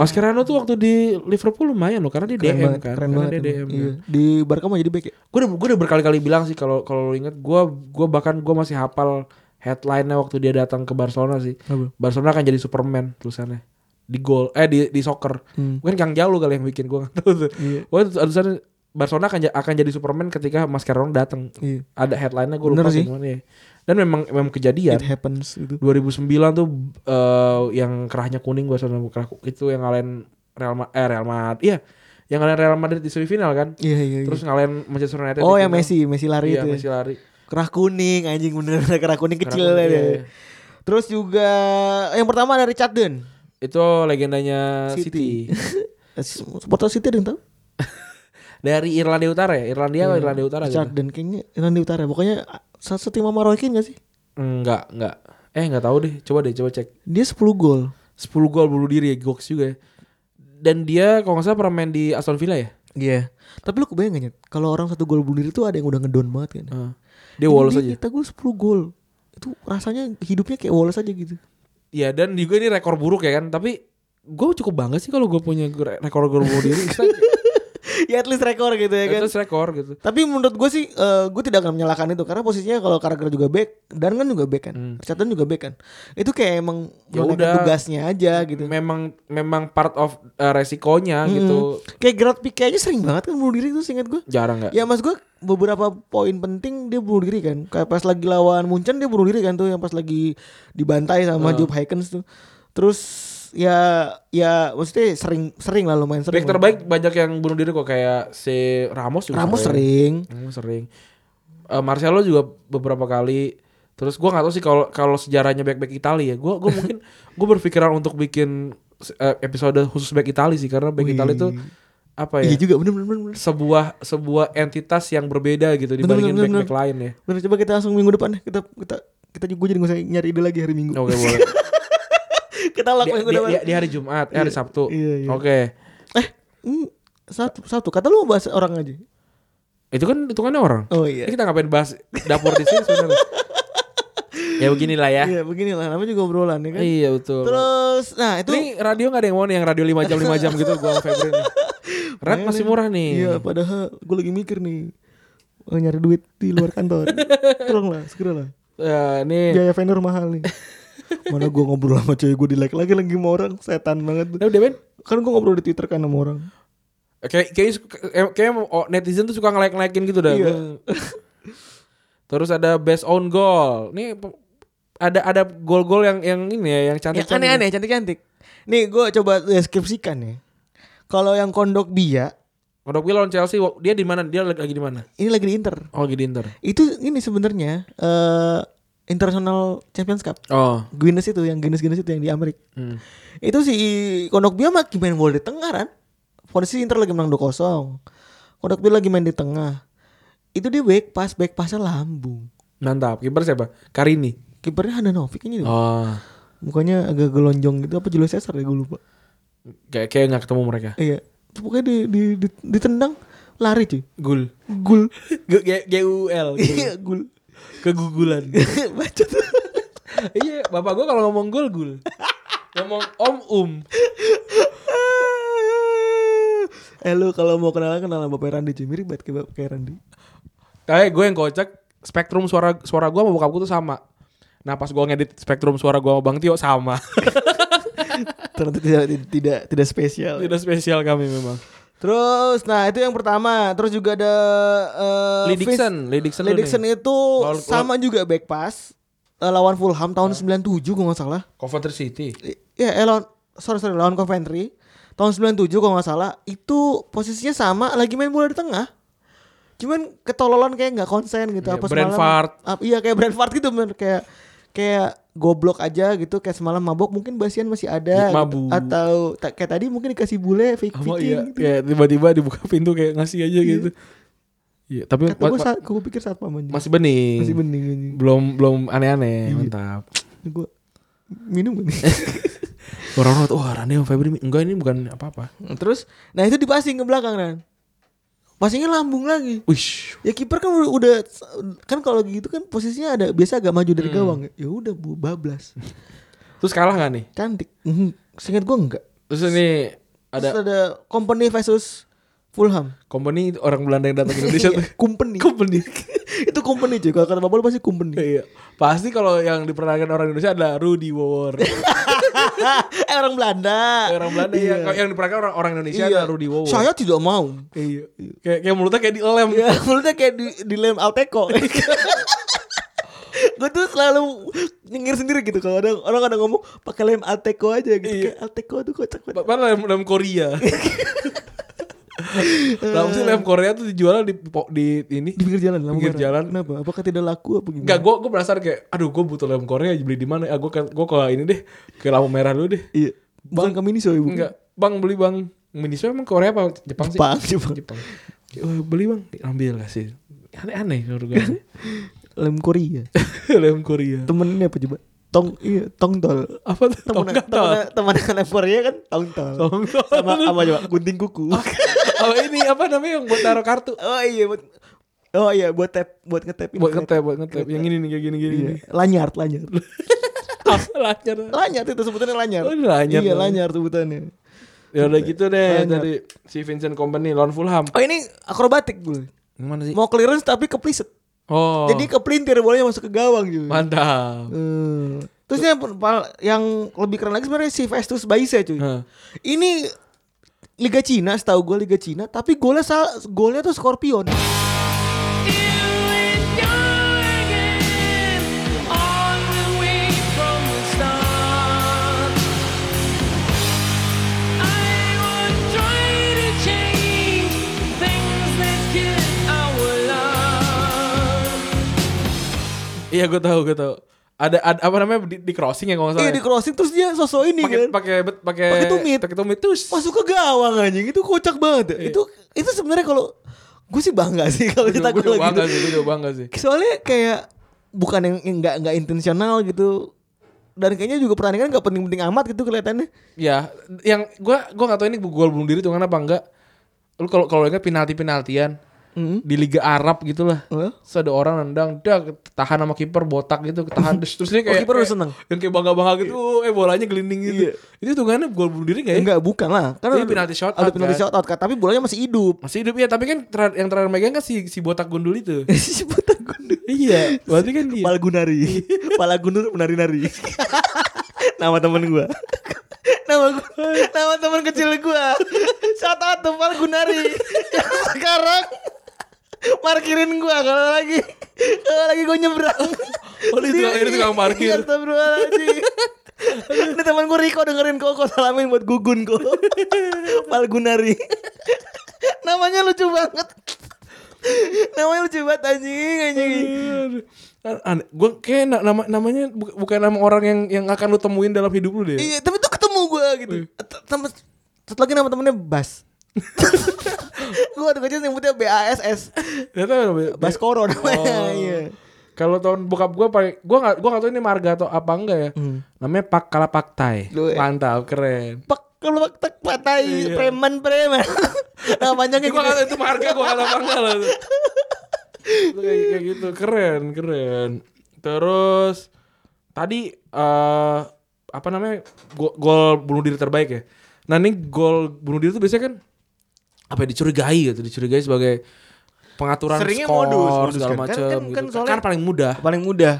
[SPEAKER 3] Mascherano tuh waktu di Liverpool lumayan loh karena dia DM
[SPEAKER 2] banget,
[SPEAKER 3] kan,
[SPEAKER 2] Ah, keren
[SPEAKER 3] karena
[SPEAKER 2] banget.
[SPEAKER 3] dia DM.
[SPEAKER 2] emang. Iya. Di Barca mau jadi back ya?
[SPEAKER 3] Gue udah gue udah berkali-kali bilang sih kalau kalau lo inget gue gue bahkan gue masih hafal headline-nya waktu dia datang ke Barcelona sih.
[SPEAKER 2] Apa?
[SPEAKER 3] Barcelona akan jadi Superman tulisannya di gol eh di di soccer.
[SPEAKER 2] Hmm.
[SPEAKER 3] Mungkin Kang Jalu kali yang bikin gue nggak tahu tuh.
[SPEAKER 2] Iya.
[SPEAKER 3] Gue tulisannya Barcelona akan ja- akan jadi Superman ketika Mascherano datang.
[SPEAKER 2] Iya.
[SPEAKER 3] Ada headline-nya gue
[SPEAKER 2] Bener
[SPEAKER 3] lupa
[SPEAKER 2] sih.
[SPEAKER 3] sih. gimana ya. Dan memang memang kejadian.
[SPEAKER 2] It happens gitu.
[SPEAKER 3] 2009 tuh eh, yang kerahnya kuning gua sama kerah ku- itu yang ngalahin Real Ma eh, Real Madrid. Iya, yang ngalahin Real Madrid di semifinal kan.
[SPEAKER 2] Iya iya. iya.
[SPEAKER 3] Terus ngalahin Manchester United.
[SPEAKER 2] oh
[SPEAKER 3] di
[SPEAKER 2] yang
[SPEAKER 3] final.
[SPEAKER 2] Messi, Messi lari itu.
[SPEAKER 3] Iya,
[SPEAKER 2] ya.
[SPEAKER 3] Messi lari.
[SPEAKER 2] Kerah kuning anjing bener kerah kuning kecil
[SPEAKER 3] Kerah kuning,
[SPEAKER 2] ya.
[SPEAKER 3] iya, iya.
[SPEAKER 2] Terus juga yang pertama ada Richardson.
[SPEAKER 3] Itu legendanya City.
[SPEAKER 2] City. Eh, Supporter City ada yang tahu?
[SPEAKER 3] Dari Irlandia Utara ya? Irlandia
[SPEAKER 2] Iya.
[SPEAKER 3] atau Irlandia Utara gitu?
[SPEAKER 2] Richardson kayaknya Irlandia Utara. Pokoknya satu tim sama Roy Keane gak sih?
[SPEAKER 3] Enggak, enggak. Eh, enggak tahu deh. Coba deh, coba cek.
[SPEAKER 2] Dia 10 gol.
[SPEAKER 3] 10 gol bunuh diri ya, goks juga ya. Dan dia kalau nggak salah pernah main di Aston Villa ya?
[SPEAKER 2] Iya. Tapi lu kebayang gak Nyet? Kalau orang satu gol bunuh diri tuh ada yang udah ngedown banget kan.
[SPEAKER 3] Heeh. Ah. Dia Wolves aja.
[SPEAKER 2] Kita gue 10 gol. Itu rasanya hidupnya kayak Wallace aja gitu.
[SPEAKER 3] Ya dan juga ini rekor buruk ya kan Tapi gue cukup bangga sih kalau gue punya re- rekor gol bunuh diri
[SPEAKER 2] ya at least rekor gitu ya kan.
[SPEAKER 3] Terus rekor gitu
[SPEAKER 2] Tapi menurut gue sih gue tidak akan menyalahkan itu karena posisinya kalau Carragher juga back dan kan juga back kan. Richardson juga back kan. Itu kayak emang
[SPEAKER 3] Ya
[SPEAKER 2] menunaikan
[SPEAKER 3] udah.
[SPEAKER 2] tugasnya aja gitu.
[SPEAKER 3] Memang memang part of uh, resikonya gitu
[SPEAKER 2] Kayak Gerard Pique aja sering banget kan bunuh diri tuh seingat gue.
[SPEAKER 3] Jarang gak?
[SPEAKER 2] Ya mas gue beberapa poin penting dia bunuh diri kan. Kayak pas lagi lawan Munchen dia bunuh diri kan tuh yang pas lagi dibantai sama Job Haykens tuh. Terus ya ya maksudnya sering sering lah lumayan sering.
[SPEAKER 3] Back
[SPEAKER 2] lah.
[SPEAKER 3] terbaik banyak yang bunuh diri kok Kayak si Ramos juga
[SPEAKER 2] Ramos sering.
[SPEAKER 3] Ramos sering Eh, Marcelo juga beberapa kali Terus gue gak tahu sih kalau kalau sejarahnya back-back Itali ya Gue gue mungkin gue berpikiran untuk bikin eh, episode khusus back Itali sih Karena back Itali tuh apa ya
[SPEAKER 2] Iya juga bener bener bener. bener.
[SPEAKER 3] sebuah sebuah entitas yang berbeda gitu dibandingin
[SPEAKER 2] bener, bener.
[SPEAKER 3] back-back lain ya.
[SPEAKER 2] Bener, coba kita langsung minggu depan deh. Kita kita kita juga jadi nggak usah nyari ide lagi hari Minggu.
[SPEAKER 3] Oke boleh.
[SPEAKER 2] kita
[SPEAKER 3] di,
[SPEAKER 2] lakukan minggu
[SPEAKER 3] di-
[SPEAKER 2] depan.
[SPEAKER 3] di- di hari Jumat, eh, hari Sabtu.
[SPEAKER 2] iya, iya.
[SPEAKER 3] Oke.
[SPEAKER 2] Eh, hmm, satu satu kata lu mau bahas orang aja.
[SPEAKER 3] Itu kan hitungannya orang.
[SPEAKER 2] Oh iya.
[SPEAKER 3] Ini Kita ngapain bahas dapur di sini sebenarnya? ya beginilah ya.
[SPEAKER 2] Iya, beginilah namanya juga obrolan ya kan.
[SPEAKER 3] Iya betul.
[SPEAKER 2] Terus nah itu
[SPEAKER 3] Ini radio gak ada yang mau nih yang radio 5 jam 5 jam gitu gua sama Febri nih. Red masih murah nih.
[SPEAKER 2] Iya, padahal gue lagi mikir nih eh, nyari duit di luar kantor. Tolonglah, segera lah.
[SPEAKER 3] Eh, ini
[SPEAKER 2] Biaya vendor mahal nih. Mana gue ngobrol sama cewek gue di like lagi lagi sama orang setan banget.
[SPEAKER 3] udah Ben.
[SPEAKER 2] Kan gue ngobrol di Twitter kan sama orang.
[SPEAKER 3] Kayak kayak kayak netizen tuh suka ngelek-ngelekin gitu dah.
[SPEAKER 2] Iya.
[SPEAKER 3] Terus ada best on goal. Nih pe- ada ada gol-gol yang yang ini ya yang cantik.
[SPEAKER 2] Yang aneh-aneh, Eh, cantik-cantik. Nih gue coba deskripsikan ya. Kalau yang kondok bia,
[SPEAKER 3] Kodok Wil lawan Chelsea wa- dia di mana? Dia lagi, lagi di mana?
[SPEAKER 2] ini lagi di Inter.
[SPEAKER 3] Oh, lagi di Inter.
[SPEAKER 2] Itu ini sebenarnya eh International Champions Cup.
[SPEAKER 3] Oh.
[SPEAKER 2] Guinness itu yang Guinness Guinness itu yang di Amerika.
[SPEAKER 3] Hmm.
[SPEAKER 2] Itu si Kondogbia mah lagi main bola di tengah kan. Posisi Inter lagi menang 2-0. Kondogbia lagi main di tengah. Itu dia back pass, back passnya lambung.
[SPEAKER 3] Mantap. Kiper siapa? Karini.
[SPEAKER 2] Kipernya Handanovic ini loh.
[SPEAKER 3] Oh.
[SPEAKER 2] Mukanya agak gelonjong gitu apa Julio Cesar ya gue lupa.
[SPEAKER 3] Kayak kayak nggak ketemu mereka.
[SPEAKER 2] Iya. Terus Pokoknya di, di, di- ditendang lari cuy.
[SPEAKER 3] Gul.
[SPEAKER 2] Gul.
[SPEAKER 3] G U L.
[SPEAKER 2] Iya, gul.
[SPEAKER 3] Kegugulan.
[SPEAKER 2] Bacot.
[SPEAKER 3] iya, bapak gua kalau ngomong gul gul. ngomong om um.
[SPEAKER 2] eh lu kalau mau kenalan kenalan Bapak Randy cuy mirip banget kayak Bapak kayak Randy.
[SPEAKER 3] Kayak gue yang kocak spektrum suara suara gua sama bokap gua tuh sama. Nah, pas gua ngedit spektrum suara gua sama Bang Tio sama.
[SPEAKER 2] Ternyata tidak tidak tidak spesial.
[SPEAKER 3] Tidak spesial kami memang.
[SPEAKER 2] Terus, nah itu yang pertama. Terus juga ada eh,
[SPEAKER 3] Lee Dixon,
[SPEAKER 2] Vince-
[SPEAKER 3] Lee Dixon
[SPEAKER 2] Lee
[SPEAKER 3] lu
[SPEAKER 2] Dixon
[SPEAKER 3] nih.
[SPEAKER 2] itu
[SPEAKER 3] Lawan-
[SPEAKER 2] sama juga back pass eh, lawan Fulham tahun 97 gue nggak salah.
[SPEAKER 3] Coventry City.
[SPEAKER 2] I- Ya, eh, lawan sorry sorry lawan Coventry tahun 97 kalau nggak salah itu posisinya sama lagi main bola di tengah. Cuman ketololan kayak nggak konsen gitu
[SPEAKER 3] Iya,
[SPEAKER 2] apa
[SPEAKER 3] Brand
[SPEAKER 2] semalam.
[SPEAKER 3] fart.
[SPEAKER 2] ap- iya kayak brand fart gitu bener kayak kayak goblok aja gitu kayak semalam mabok mungkin basian masih ada
[SPEAKER 3] Iya,
[SPEAKER 2] gitu.
[SPEAKER 3] mabuk.
[SPEAKER 2] atau ta- kayak tadi mungkin dikasih bule fake
[SPEAKER 3] Sama
[SPEAKER 2] fitting
[SPEAKER 3] iya,
[SPEAKER 2] gitu.
[SPEAKER 3] kayak tiba-tiba dibuka pintu kayak ngasih aja gitu. Iya, tapi
[SPEAKER 2] Kata gue
[SPEAKER 3] ma-
[SPEAKER 2] saat gue pikir saat paman
[SPEAKER 3] masih bening.
[SPEAKER 2] masih bening Iya. anjing.
[SPEAKER 3] Belum belum aneh-aneh, mantap.
[SPEAKER 2] Gue minum ini.
[SPEAKER 3] Orang-orang tuh, wah Randy sama Febri, enggak ini bukan apa-apa.
[SPEAKER 2] Terus, nah itu dipasing ke belakang kan. Passingnya lambung lagi.
[SPEAKER 3] Wish,
[SPEAKER 2] Ya kiper kan udah, udah- kan kalau gitu kan posisinya ada biasa agak maju
[SPEAKER 3] Hmm.
[SPEAKER 2] dari gawang. Ya udah bu bablas.
[SPEAKER 3] terus kalah gak nih?
[SPEAKER 2] Cantik. Mhm. Seingat gua enggak.
[SPEAKER 3] Terus ini
[SPEAKER 2] Ada Terus
[SPEAKER 3] ada
[SPEAKER 2] ada company versus Fulham.
[SPEAKER 3] company orang Belanda yang datang ke Indonesia tuh.
[SPEAKER 2] Iya, company.
[SPEAKER 3] Company.
[SPEAKER 2] itu company cuy. Kalau kata bapak lu pasti company.
[SPEAKER 3] Iya. Pasti kalau yang diperankan orang Indonesia adalah Rudy Wawor.
[SPEAKER 2] eh orang Belanda.
[SPEAKER 3] orang Belanda iya. Kalau yang diperankan orang orang Indonesia
[SPEAKER 2] Iya.
[SPEAKER 3] adalah Rudy Wawor.
[SPEAKER 2] Saya tidak mau.
[SPEAKER 3] Iya. Kayak kayak mulutnya kayak dilem.
[SPEAKER 2] Ya mulutnya kayak di, di lem Alteco Gue tuh selalu nyengir sendiri gitu kalau ada orang ada ngomong pakai lem Alteco aja gitu
[SPEAKER 3] Iya.
[SPEAKER 2] kayak Alteco tuh kocak banget.
[SPEAKER 3] Padahal lem, lem Korea. Kenapa sih lem Korea tuh dijual di po- di ini?
[SPEAKER 2] Di pinggir jalan lama
[SPEAKER 3] Pinggir
[SPEAKER 2] merah.
[SPEAKER 3] jalan.
[SPEAKER 2] Kenapa? Apakah tidak laku apa gimana?
[SPEAKER 3] Enggak, gue gue penasaran kayak, aduh gue butuh lem Korea beli di mana? Ah gue ke gue ke ini deh, ke lampu merah dulu deh.
[SPEAKER 2] Iya. Bukan
[SPEAKER 3] Bang-
[SPEAKER 2] kami ini soalnya bukan.
[SPEAKER 3] Enggak, bang beli bang. Miniso emang Korea apa Jepang sih?
[SPEAKER 2] Jepang, Jepang.
[SPEAKER 3] Jepang. Ya, wah, beli bang, ambil lah sih. Aneh-aneh menurut gue.
[SPEAKER 2] Lem Korea.
[SPEAKER 3] lem Korea.
[SPEAKER 2] Temennya apa coba? Tong iya, tongtol.
[SPEAKER 3] apa tuh?
[SPEAKER 2] Temen
[SPEAKER 3] Tongkat
[SPEAKER 2] temen temen lem Korea kan tongtol.
[SPEAKER 3] Tongtol.
[SPEAKER 2] Sama apa coba? Gunting kuku.
[SPEAKER 3] Oh ini apa namanya yang buat taruh kartu?
[SPEAKER 2] oh iya buat Oh iya buat tap buat ngetap ini.
[SPEAKER 3] Buat ngetep, buat ngetep. Yang ini nih kayak gini gini.
[SPEAKER 2] Iya, lanyard, lanyard.
[SPEAKER 3] Apa lancar?
[SPEAKER 2] Lanyar itu sebutannya lanyar.
[SPEAKER 3] Oh, lanyar.
[SPEAKER 2] Iya, lanyar sebutannya.
[SPEAKER 3] Ya udah gitu deh
[SPEAKER 2] Lancar.
[SPEAKER 3] dari si Vincent Company lawan Fulham.
[SPEAKER 2] Oh, ini akrobatik gue.
[SPEAKER 3] Gimana sih?
[SPEAKER 2] Mau clearance tapi kepliset.
[SPEAKER 3] Oh.
[SPEAKER 2] Jadi kepelintir bolanya masuk ke gawang juga.
[SPEAKER 3] mantap.
[SPEAKER 2] Hmm. Terus yang, pal- yang lebih keren lagi sebenarnya si Festus Baise cuy.
[SPEAKER 3] Heeh.
[SPEAKER 2] Ini Liga Cina, setahu gue Liga Cina, tapi golnya sal- golnya tuh Scorpion.
[SPEAKER 3] Iya gue tahu gue tahu. Ada, ada apa namanya di, di crossing ya kalau nggak
[SPEAKER 2] Iya
[SPEAKER 3] salah.
[SPEAKER 2] di
[SPEAKER 3] ya?
[SPEAKER 2] crossing terus dia sosok ini
[SPEAKER 3] Pakai
[SPEAKER 2] kan.
[SPEAKER 3] pakai bet- pakai
[SPEAKER 2] Pakai tumit. Oh,
[SPEAKER 3] Pakai tumit terus.
[SPEAKER 2] Masuk ke gawang anjing itu kocak banget. Itu itu sebenarnya kalau gue sih bangga sih kalau
[SPEAKER 3] Gue Iya. juga-
[SPEAKER 2] kita
[SPEAKER 3] gue
[SPEAKER 2] gol
[SPEAKER 3] juga bangga
[SPEAKER 2] gitu.
[SPEAKER 3] sih, gue juga bangga sih.
[SPEAKER 2] soalnya kayak bukan yang yang nggak nggak intensional gitu dan kayaknya juga pertandingan nggak penting-penting amat gitu kelihatannya
[SPEAKER 3] Ya, yang gua gua nggak tahu ini gol bunuh diri tuh karena apa enggak. Lu kalau kalau ingat penalti-penaltian
[SPEAKER 2] Mm-hmm.
[SPEAKER 3] di Liga Arab gitu lah.
[SPEAKER 2] Heeh.
[SPEAKER 3] Terus ada orang nendang, dah tahan sama kiper botak gitu, ketahan terus terus dia kayak
[SPEAKER 2] Oh, kiper udah
[SPEAKER 3] kayak-
[SPEAKER 2] seneng.
[SPEAKER 3] Yang kayak bangga-bangga gitu, "Oh, eh bolanya gelinding gitu.
[SPEAKER 2] Iya.
[SPEAKER 3] Itu hitungannya gol bunuh diri enggak ya?
[SPEAKER 2] enggak Eh, bukan lah karena
[SPEAKER 3] Ini penalti shot
[SPEAKER 2] ada
[SPEAKER 3] out,
[SPEAKER 2] penalti
[SPEAKER 3] kan?
[SPEAKER 2] shot out kan? tapi bolanya masih hidup
[SPEAKER 3] Masih hidup ya, tapi kan ter- yang terakhir megang kan si si botak gundul itu.
[SPEAKER 2] si botak gundul
[SPEAKER 3] iya, berarti kan dia.
[SPEAKER 2] Pal Gunari Pala Gunur Iya. menari-nari Nama temen gua Nama gua, nama teman kecil gua Shout out tuh Pal Gunari Yang Sekarang Parkirin gua kalau lagi Kalau lagi gua nyebrang
[SPEAKER 3] Oh, dia tukang- dia tukang parkir.
[SPEAKER 2] Iya, Astagfirullahaladzim Ini temen gua Riko dengerin kok Kok salamin buat Gugun kok Pal Gunari Namanya lucu banget Namanya lucu banget anjing anjing
[SPEAKER 3] Gue Kan, kayak na- nama namanya bu- bukan nama orang yang yang akan lu temuin dalam hidup lu deh.
[SPEAKER 2] Iya, tapi tuh ketemu gue gitu. T- Temen, satu lagi nama temennya Bas. gue ada kecil nyebutnya B A S S.
[SPEAKER 3] Ternyata namanya-
[SPEAKER 2] Bas Koro namanya.
[SPEAKER 3] Oh.
[SPEAKER 2] Iya.
[SPEAKER 3] Kalau tahun bokap gue paling gue gak gue gak tahu ini marga atau apa enggak ya.
[SPEAKER 2] Hmm.
[SPEAKER 3] Namanya Pak Kalapaktai.
[SPEAKER 2] Lu, eh.
[SPEAKER 3] Mantap, keren.
[SPEAKER 2] Pak kalau tak patai preman preman. Nah panjangnya
[SPEAKER 3] Gue
[SPEAKER 2] gitu.
[SPEAKER 3] gak tahu Iya. itu marga gue gak tahu apa enggak lah. tuh. Itu kayak, kayak gitu, keren, keren. Terus tadi eh apa namanya go- gol bunuh diri terbaik ya. Nah ini gol bunuh diri tuh biasanya kan apa ya, dicurigai gitu, dicurigai sebagai pengaturan
[SPEAKER 2] Seringnya
[SPEAKER 3] skor
[SPEAKER 2] modus, modus
[SPEAKER 3] segala
[SPEAKER 2] kan. Kan- kan-
[SPEAKER 3] macam gitu.
[SPEAKER 2] kan
[SPEAKER 3] Kan,
[SPEAKER 2] soalnya- Iya.
[SPEAKER 3] paling mudah.
[SPEAKER 2] paling mudah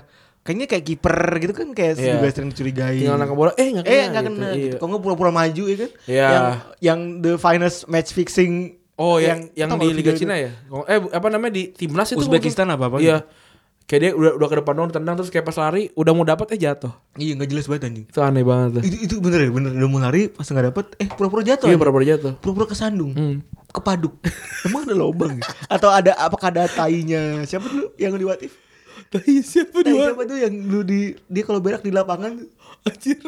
[SPEAKER 2] kayaknya kayak kiper gitu kan kayak
[SPEAKER 3] Iya.
[SPEAKER 2] juga sering dicurigai
[SPEAKER 3] Tinggal nangkep bola, eh nggak kena.
[SPEAKER 2] eh nggak
[SPEAKER 3] gitu.
[SPEAKER 2] kena
[SPEAKER 3] Iya.
[SPEAKER 2] gitu. Kok nggak pura-pura maju ya kan
[SPEAKER 3] Iya.
[SPEAKER 2] yang yang the finest match fixing
[SPEAKER 3] Oh yang yang,
[SPEAKER 2] tau
[SPEAKER 3] di
[SPEAKER 2] nggak
[SPEAKER 3] Liga
[SPEAKER 2] video
[SPEAKER 3] Cina ya? Kalau- Eh bu- apa namanya di timnas itu?
[SPEAKER 2] Uzbekistan gitu?
[SPEAKER 3] mungkin.
[SPEAKER 2] apa-apa
[SPEAKER 3] Iya. Kayak dia udah udah ke depan doang tendang terus kayak pas lari udah mau dapat eh jatuh.
[SPEAKER 2] itu? iya nggak jelas banget anjing
[SPEAKER 3] Itu aneh banget tuh.
[SPEAKER 2] itu itu bener ya bener udah mau lari pas nggak dapet eh pura-pura jatuh
[SPEAKER 3] Iya
[SPEAKER 2] anjing.
[SPEAKER 3] pura-pura jatuh.
[SPEAKER 2] pura-pura kesandung kepaduk Hmm. emang ada lubang ya? atau ada apakah ada tainya siapa dulu yang di watif
[SPEAKER 3] Tapi siapa
[SPEAKER 2] tai
[SPEAKER 3] dua?
[SPEAKER 2] siapa tuh yang dulu di dia kalau berak di lapangan
[SPEAKER 3] Anjir.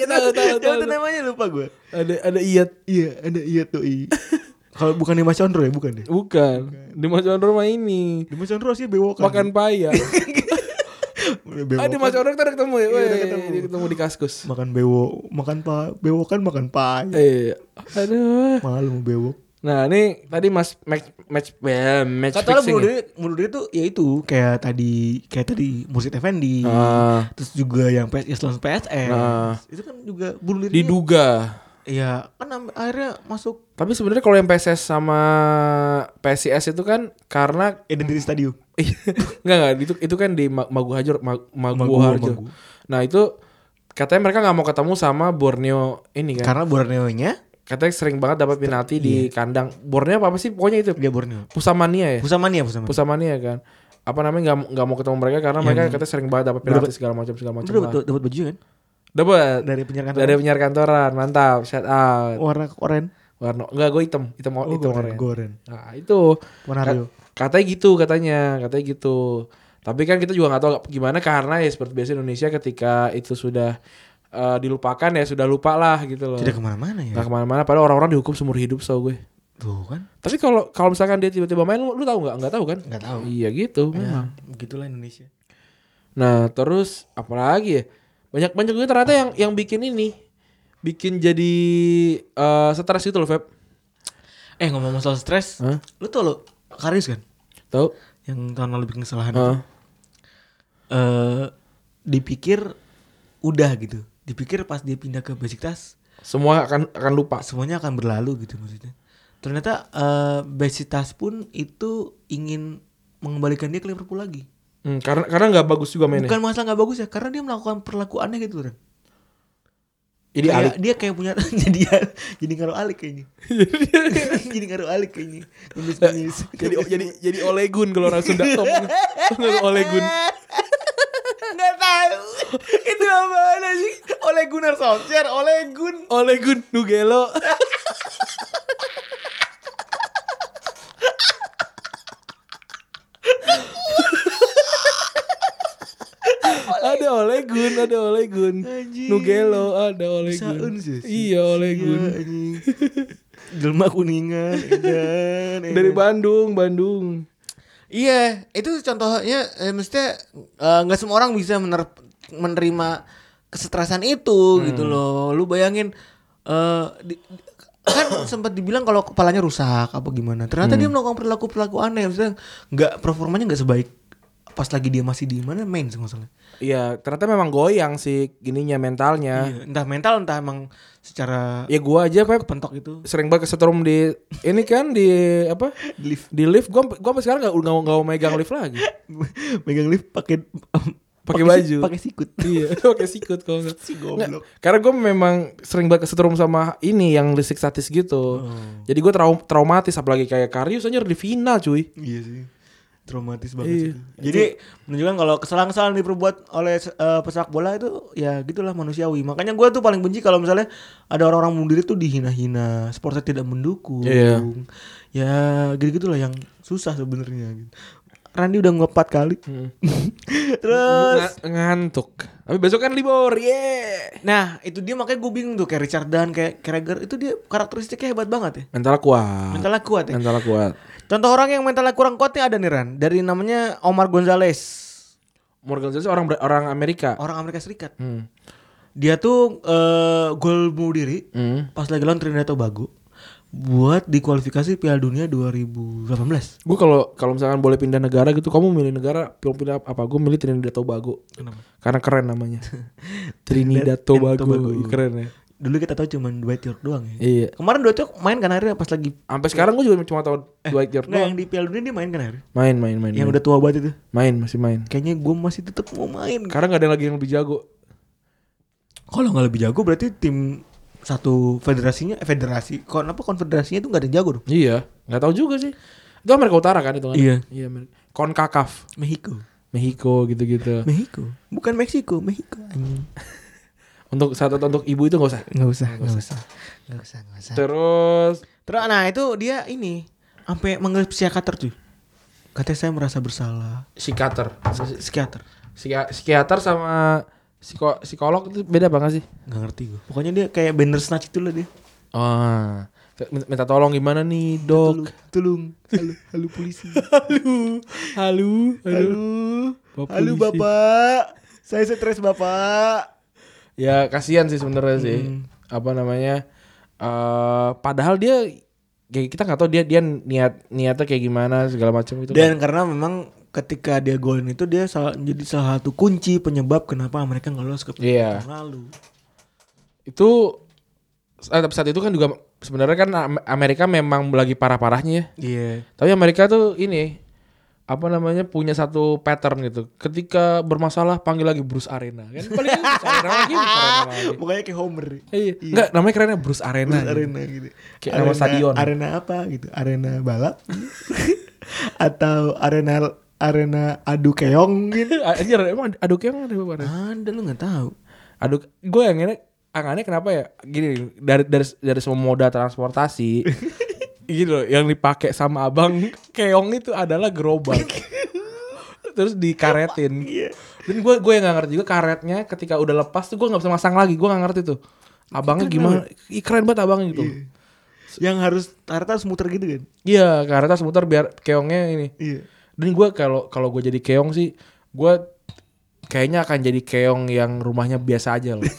[SPEAKER 3] Iya tahu tahu
[SPEAKER 2] siapa
[SPEAKER 3] tahu.
[SPEAKER 2] tuh namanya lupa gue
[SPEAKER 3] Ada ada iat.
[SPEAKER 2] iya ada iya tuh i kalau bukan Dimas Chandra ya bukan deh
[SPEAKER 3] Bukan. Di Mas Condor mah ini.
[SPEAKER 2] Dimas Chandra sih kan. bewokan
[SPEAKER 3] Makan paya.
[SPEAKER 2] bewokan.
[SPEAKER 3] Ah di Mas Condor kita udah ketemu ya.
[SPEAKER 2] Iya, udah
[SPEAKER 3] Weh,
[SPEAKER 2] ketemu.
[SPEAKER 3] dia ketemu di kaskus.
[SPEAKER 2] kan. makan bewo makan pa bewokan makan pay
[SPEAKER 3] Eh, aduh.
[SPEAKER 2] malu mau bewok
[SPEAKER 3] Nah ini tadi mas match match eh, match
[SPEAKER 2] Kata lo
[SPEAKER 3] fixing.
[SPEAKER 2] bunuh
[SPEAKER 3] Ya?
[SPEAKER 2] diri, bunuh diri tuh ya itu kayak tadi kayak tadi Mursid Effendi,
[SPEAKER 3] Ah.
[SPEAKER 2] terus juga yang PSIS lawan PSS,
[SPEAKER 3] Ah.
[SPEAKER 2] itu kan juga bunuh diri.
[SPEAKER 3] Diduga.
[SPEAKER 2] Iya, kan am- akhirnya masuk
[SPEAKER 3] Tapi sebenarnya kalau yang PSS sama PSIS itu kan karena
[SPEAKER 2] identity stadium.
[SPEAKER 3] nggak nggak itu itu kan di Ma- Magu Hajur Ma- Magu,
[SPEAKER 2] Magu,
[SPEAKER 3] Harjo.
[SPEAKER 2] Magu.
[SPEAKER 3] Nah itu katanya mereka nggak mau ketemu sama Borneo ini kan.
[SPEAKER 2] Ya. Karena Borneo-nya
[SPEAKER 3] katanya sering banget dapat penalti di kandang Borneo apa, apa sih pokoknya itu
[SPEAKER 2] dia Borneo.
[SPEAKER 3] Iya. Pusamania ya.
[SPEAKER 2] Pusamania, Pusamania.
[SPEAKER 3] Pusamania kan. Apa namanya nggak nggak mau ketemu mereka karena mereka katanya sering banget dapat penalti segala macam segala macam.
[SPEAKER 2] Itu
[SPEAKER 3] lah.
[SPEAKER 2] dapat dapat baju kan?
[SPEAKER 3] Dapat
[SPEAKER 2] Dari penyiar kantor.
[SPEAKER 3] dari penyiar kantoran mantap shout out
[SPEAKER 2] warna oranye.
[SPEAKER 3] warna enggak gue hitam hitam oh, hitam oranye
[SPEAKER 2] Goren.
[SPEAKER 3] nah itu
[SPEAKER 2] Warna
[SPEAKER 3] Ka- katanya gitu katanya katanya gitu tapi kan kita juga nggak tahu gimana karena ya seperti biasa Indonesia ketika itu sudah eh, dilupakan ya sudah lupa lah gitu loh
[SPEAKER 2] Tidak kemana-mana ya.
[SPEAKER 3] nggak kemana-mana padahal orang-orang dihukum seumur hidup so gue
[SPEAKER 2] Tuh kan,
[SPEAKER 3] tapi kalau kalau misalkan dia tiba-tiba main lu, lu tahu nggak nggak tahu kan
[SPEAKER 2] nggak tahu.
[SPEAKER 3] iya gitu memang
[SPEAKER 2] Begitulah Indonesia.
[SPEAKER 3] Nah terus apalagi ya banyak banyak juga ternyata yang yang bikin ini bikin jadi eh, stres gitu loh Feb.
[SPEAKER 2] Eh ngomong masalah stres,
[SPEAKER 3] Hah?
[SPEAKER 2] lu tau lo Karis kan?
[SPEAKER 3] Tahu?
[SPEAKER 2] Yang tahun lalu bikin kesalahan.
[SPEAKER 3] Heeh.
[SPEAKER 2] eh dipikir udah gitu dipikir pas dia pindah ke Besiktas
[SPEAKER 3] semua akan akan lupa.
[SPEAKER 2] semuanya akan berlalu gitu maksudnya ternyata eh Besiktas pun itu ingin mengembalikan dia ke Liverpool lagi
[SPEAKER 3] Hmm, karena karena nggak bagus juga mainnya.
[SPEAKER 2] bukan masalah nggak bagus ya karena dia melakukan perlakuannya gitu kan
[SPEAKER 3] Jadi
[SPEAKER 2] kayak,
[SPEAKER 3] alik.
[SPEAKER 2] dia kayak punya jadi ya, jadi ngaruh alik kayaknya jadi ngaruh alik kayaknya ngemis ngemis
[SPEAKER 3] Nah, Jadi oh, jadi jadi olegun kalau orang Sunda Tom. Nggak olegun.
[SPEAKER 2] nggak tahu itu apa sih oleh Gunnar Solskjaer oleh Gun
[SPEAKER 3] Olegun Nugelo. ada Olegun, ada Olegun.
[SPEAKER 2] Anjing.
[SPEAKER 3] Nugelo ada
[SPEAKER 2] Bisa
[SPEAKER 3] Olegun.
[SPEAKER 2] sih.
[SPEAKER 3] Iya Olegun.
[SPEAKER 2] Eh, Jelma kuningan, edan, edan.
[SPEAKER 3] Dari Bandung, Bandung.
[SPEAKER 2] Iya, itu contohnya eh, maksudnya eh, nggak semua orang bisa mener- menerima kesetresan itu gitu loh. Lu bayangin eh di- di- kan sempat dibilang kalau kepalanya rusak apa gimana. Ternyata dia melakukan perilaku-perilaku aneh, maksudnya nggak performanya nggak sebaik pas lagi dia masih di mana main sih masalahnya.
[SPEAKER 3] Iya, ternyata memang goyang sih gininya mentalnya.
[SPEAKER 2] Iya, entah mental entah emang secara
[SPEAKER 3] Ya gua aja Pep
[SPEAKER 2] pentok itu
[SPEAKER 3] sering banget kesetrum di ini kan di apa?
[SPEAKER 2] Di lift.
[SPEAKER 3] Di lift gua gua sampai sekarang nggak nggak nggak mau megang lift lagi.
[SPEAKER 2] megang lift pakai
[SPEAKER 3] Pakai baju.
[SPEAKER 2] pakai sikut
[SPEAKER 3] iya pakai sikut kalau nggak
[SPEAKER 2] Si goblok.
[SPEAKER 3] Nggak, karena gue memang sering banget kesetrum sama ini yang listrik statis
[SPEAKER 2] Oh.
[SPEAKER 3] gitu jadi gue trau- traumatis apalagi kayak Karius anjir di final cuy
[SPEAKER 2] Iya sih. Traumatis banget
[SPEAKER 3] Iya.
[SPEAKER 2] sih. Jadi menunjukkan kalau kesalahan-kesalahan diperbuat oleh eh, pesepak bola itu ya gitulah manusiawi. Makanya gue tuh paling benci kalau misalnya ada orang-orang bunuh diri tuh dihina-hina, sportnya tidak mendukung.
[SPEAKER 3] Iya.
[SPEAKER 2] Ya gitu-gitulah yang susah sebenarnya gitu. Randy udah ngepat kali.
[SPEAKER 3] Hmm.
[SPEAKER 2] Terus
[SPEAKER 3] Nga- ngantuk tapi besok kan libur yeah
[SPEAKER 2] nah, itu dia makanya gue bingung tuh kayak Richard Dunn, kayak Carragher itu dia karakteristiknya hebat banget ya.
[SPEAKER 3] mental kuat
[SPEAKER 2] Mentalnya kuat ya.
[SPEAKER 3] mental kuat
[SPEAKER 2] Contoh orang yang mentalnya kurang kuatnya ada nih Ran, dari namanya Omar Gonzalez.
[SPEAKER 3] Morgan Jones orang orang Amerika
[SPEAKER 2] orang Amerika Serikat.
[SPEAKER 3] Hmm.
[SPEAKER 2] Dia tuh eh, gol bunuh diri
[SPEAKER 3] Hmm.
[SPEAKER 2] pas lagi lawan Trinidad Tobago buat dikualifikasi Piala Dunia 2018.
[SPEAKER 3] gue kalau kalau misalkan boleh pindah negara gitu kamu milih negara pilih pilih apa gue milih Trinidad Tobago
[SPEAKER 2] Kenapa?
[SPEAKER 3] karena keren namanya Trinidad Tobago,
[SPEAKER 2] Tobago. Iya,
[SPEAKER 3] Ih, keren ya
[SPEAKER 2] dulu kita tahu cuman dua York doang ya.
[SPEAKER 3] Iya.
[SPEAKER 2] Kemarin dua York main kan akhirnya pas lagi
[SPEAKER 3] Sampai sekarang gue juga cuma tahu Dwight York
[SPEAKER 2] Nggak, yang
[SPEAKER 3] doang.
[SPEAKER 2] di Piala Dunia dia main kan akhirnya. Iya.
[SPEAKER 3] Main, main, main.
[SPEAKER 2] Eh, Yang
[SPEAKER 3] main.
[SPEAKER 2] udah tua banget itu.
[SPEAKER 3] main, masih main.
[SPEAKER 2] Kayaknya gue masih tetap mau main.
[SPEAKER 3] Karena nggak ada lagi yang lebih jago.
[SPEAKER 2] Kalau nggak lebih jago berarti tim satu federasinya eh, federasi kenapa konfederasinya itu nggak ada yang jago dong
[SPEAKER 3] Iya, nggak tahu juga sih. Itu Amerika Utara kan itu kan?
[SPEAKER 2] Iya.
[SPEAKER 3] Iya, Amerika. Concacaf,
[SPEAKER 2] Mexico
[SPEAKER 3] Mexico gitu-gitu.
[SPEAKER 2] Mexico bukan Meksiko Mexico anjing
[SPEAKER 3] Untuk satu untuk ibu itu nggak usah.
[SPEAKER 2] nggak usah nggak usah nggak usah nggak usah
[SPEAKER 3] Terus
[SPEAKER 2] terus nah itu dia ini sampai manggil psikiater tuh katanya saya merasa bersalah
[SPEAKER 3] psikiater.
[SPEAKER 2] psikiater
[SPEAKER 3] Psiki- Psikiater sama psiko- psikolog itu beda apa nggak sih?
[SPEAKER 2] nggak ngerti gue pokoknya dia kayak banner snatch itu lah dia
[SPEAKER 3] Ah, minta- minta tolong gimana nih dok?
[SPEAKER 2] tulung halo halo polisi
[SPEAKER 3] Halo,
[SPEAKER 2] halo halo
[SPEAKER 3] polisi.
[SPEAKER 2] bapak saya stres bapak
[SPEAKER 3] Ya kasihan sih sebenarnya sih. Apa namanya? eh padahal dia kayak kita nggak tahu dia dia niat niatnya kayak gimana segala macam gitu.
[SPEAKER 2] dan karena memang ketika dia golin itu dia salah, jadi salah satu kunci penyebab kenapa mereka nggak lolos ke
[SPEAKER 3] Iya.
[SPEAKER 2] tahun lalu
[SPEAKER 3] itu eh, tapi saat itu kan juga sebenarnya kan Am- Amerika memang lagi parah-parahnya ya.
[SPEAKER 2] iya
[SPEAKER 3] Tapi Amerika tuh ini apa namanya punya satu pattern gitu. Ketika bermasalah panggil lagi Bruce Arena kan paling kan Bruce Arena lagi Bruce Arena lagi.
[SPEAKER 2] pokoknya kayak Homer
[SPEAKER 3] Iya. Enggak namanya kerennya Bruce Arena.
[SPEAKER 2] Terus
[SPEAKER 3] gitu.
[SPEAKER 2] arena gitu.
[SPEAKER 3] Kayak nama stadion.
[SPEAKER 2] Arena apa gitu? Arena balap atau arena arena adu keong gitu?
[SPEAKER 3] A- Anjir emang adu keong ada apa?
[SPEAKER 2] Ada lu nggak tahu?
[SPEAKER 3] Aduh, gue yang ini angannya kenapa ya? Gini dari dari dari semua moda transportasi gitu loh, yang dipakai sama abang keong itu adalah gerobak. Terus dikaretin. Dan gue gue yang gak ngerti juga karetnya ketika udah lepas tuh gue nggak bisa masang lagi. Gue gak ngerti tuh. Abangnya gimana? Ih, keren banget abangnya gitu. loh.
[SPEAKER 2] Yang harus tarta harus muter gitu kan?
[SPEAKER 3] Iya, karetnya harus muter biar keongnya ini.
[SPEAKER 2] Iya.
[SPEAKER 3] Dan gue kalau kalau gue jadi keong sih, gue kayaknya akan jadi keong yang rumahnya biasa aja loh.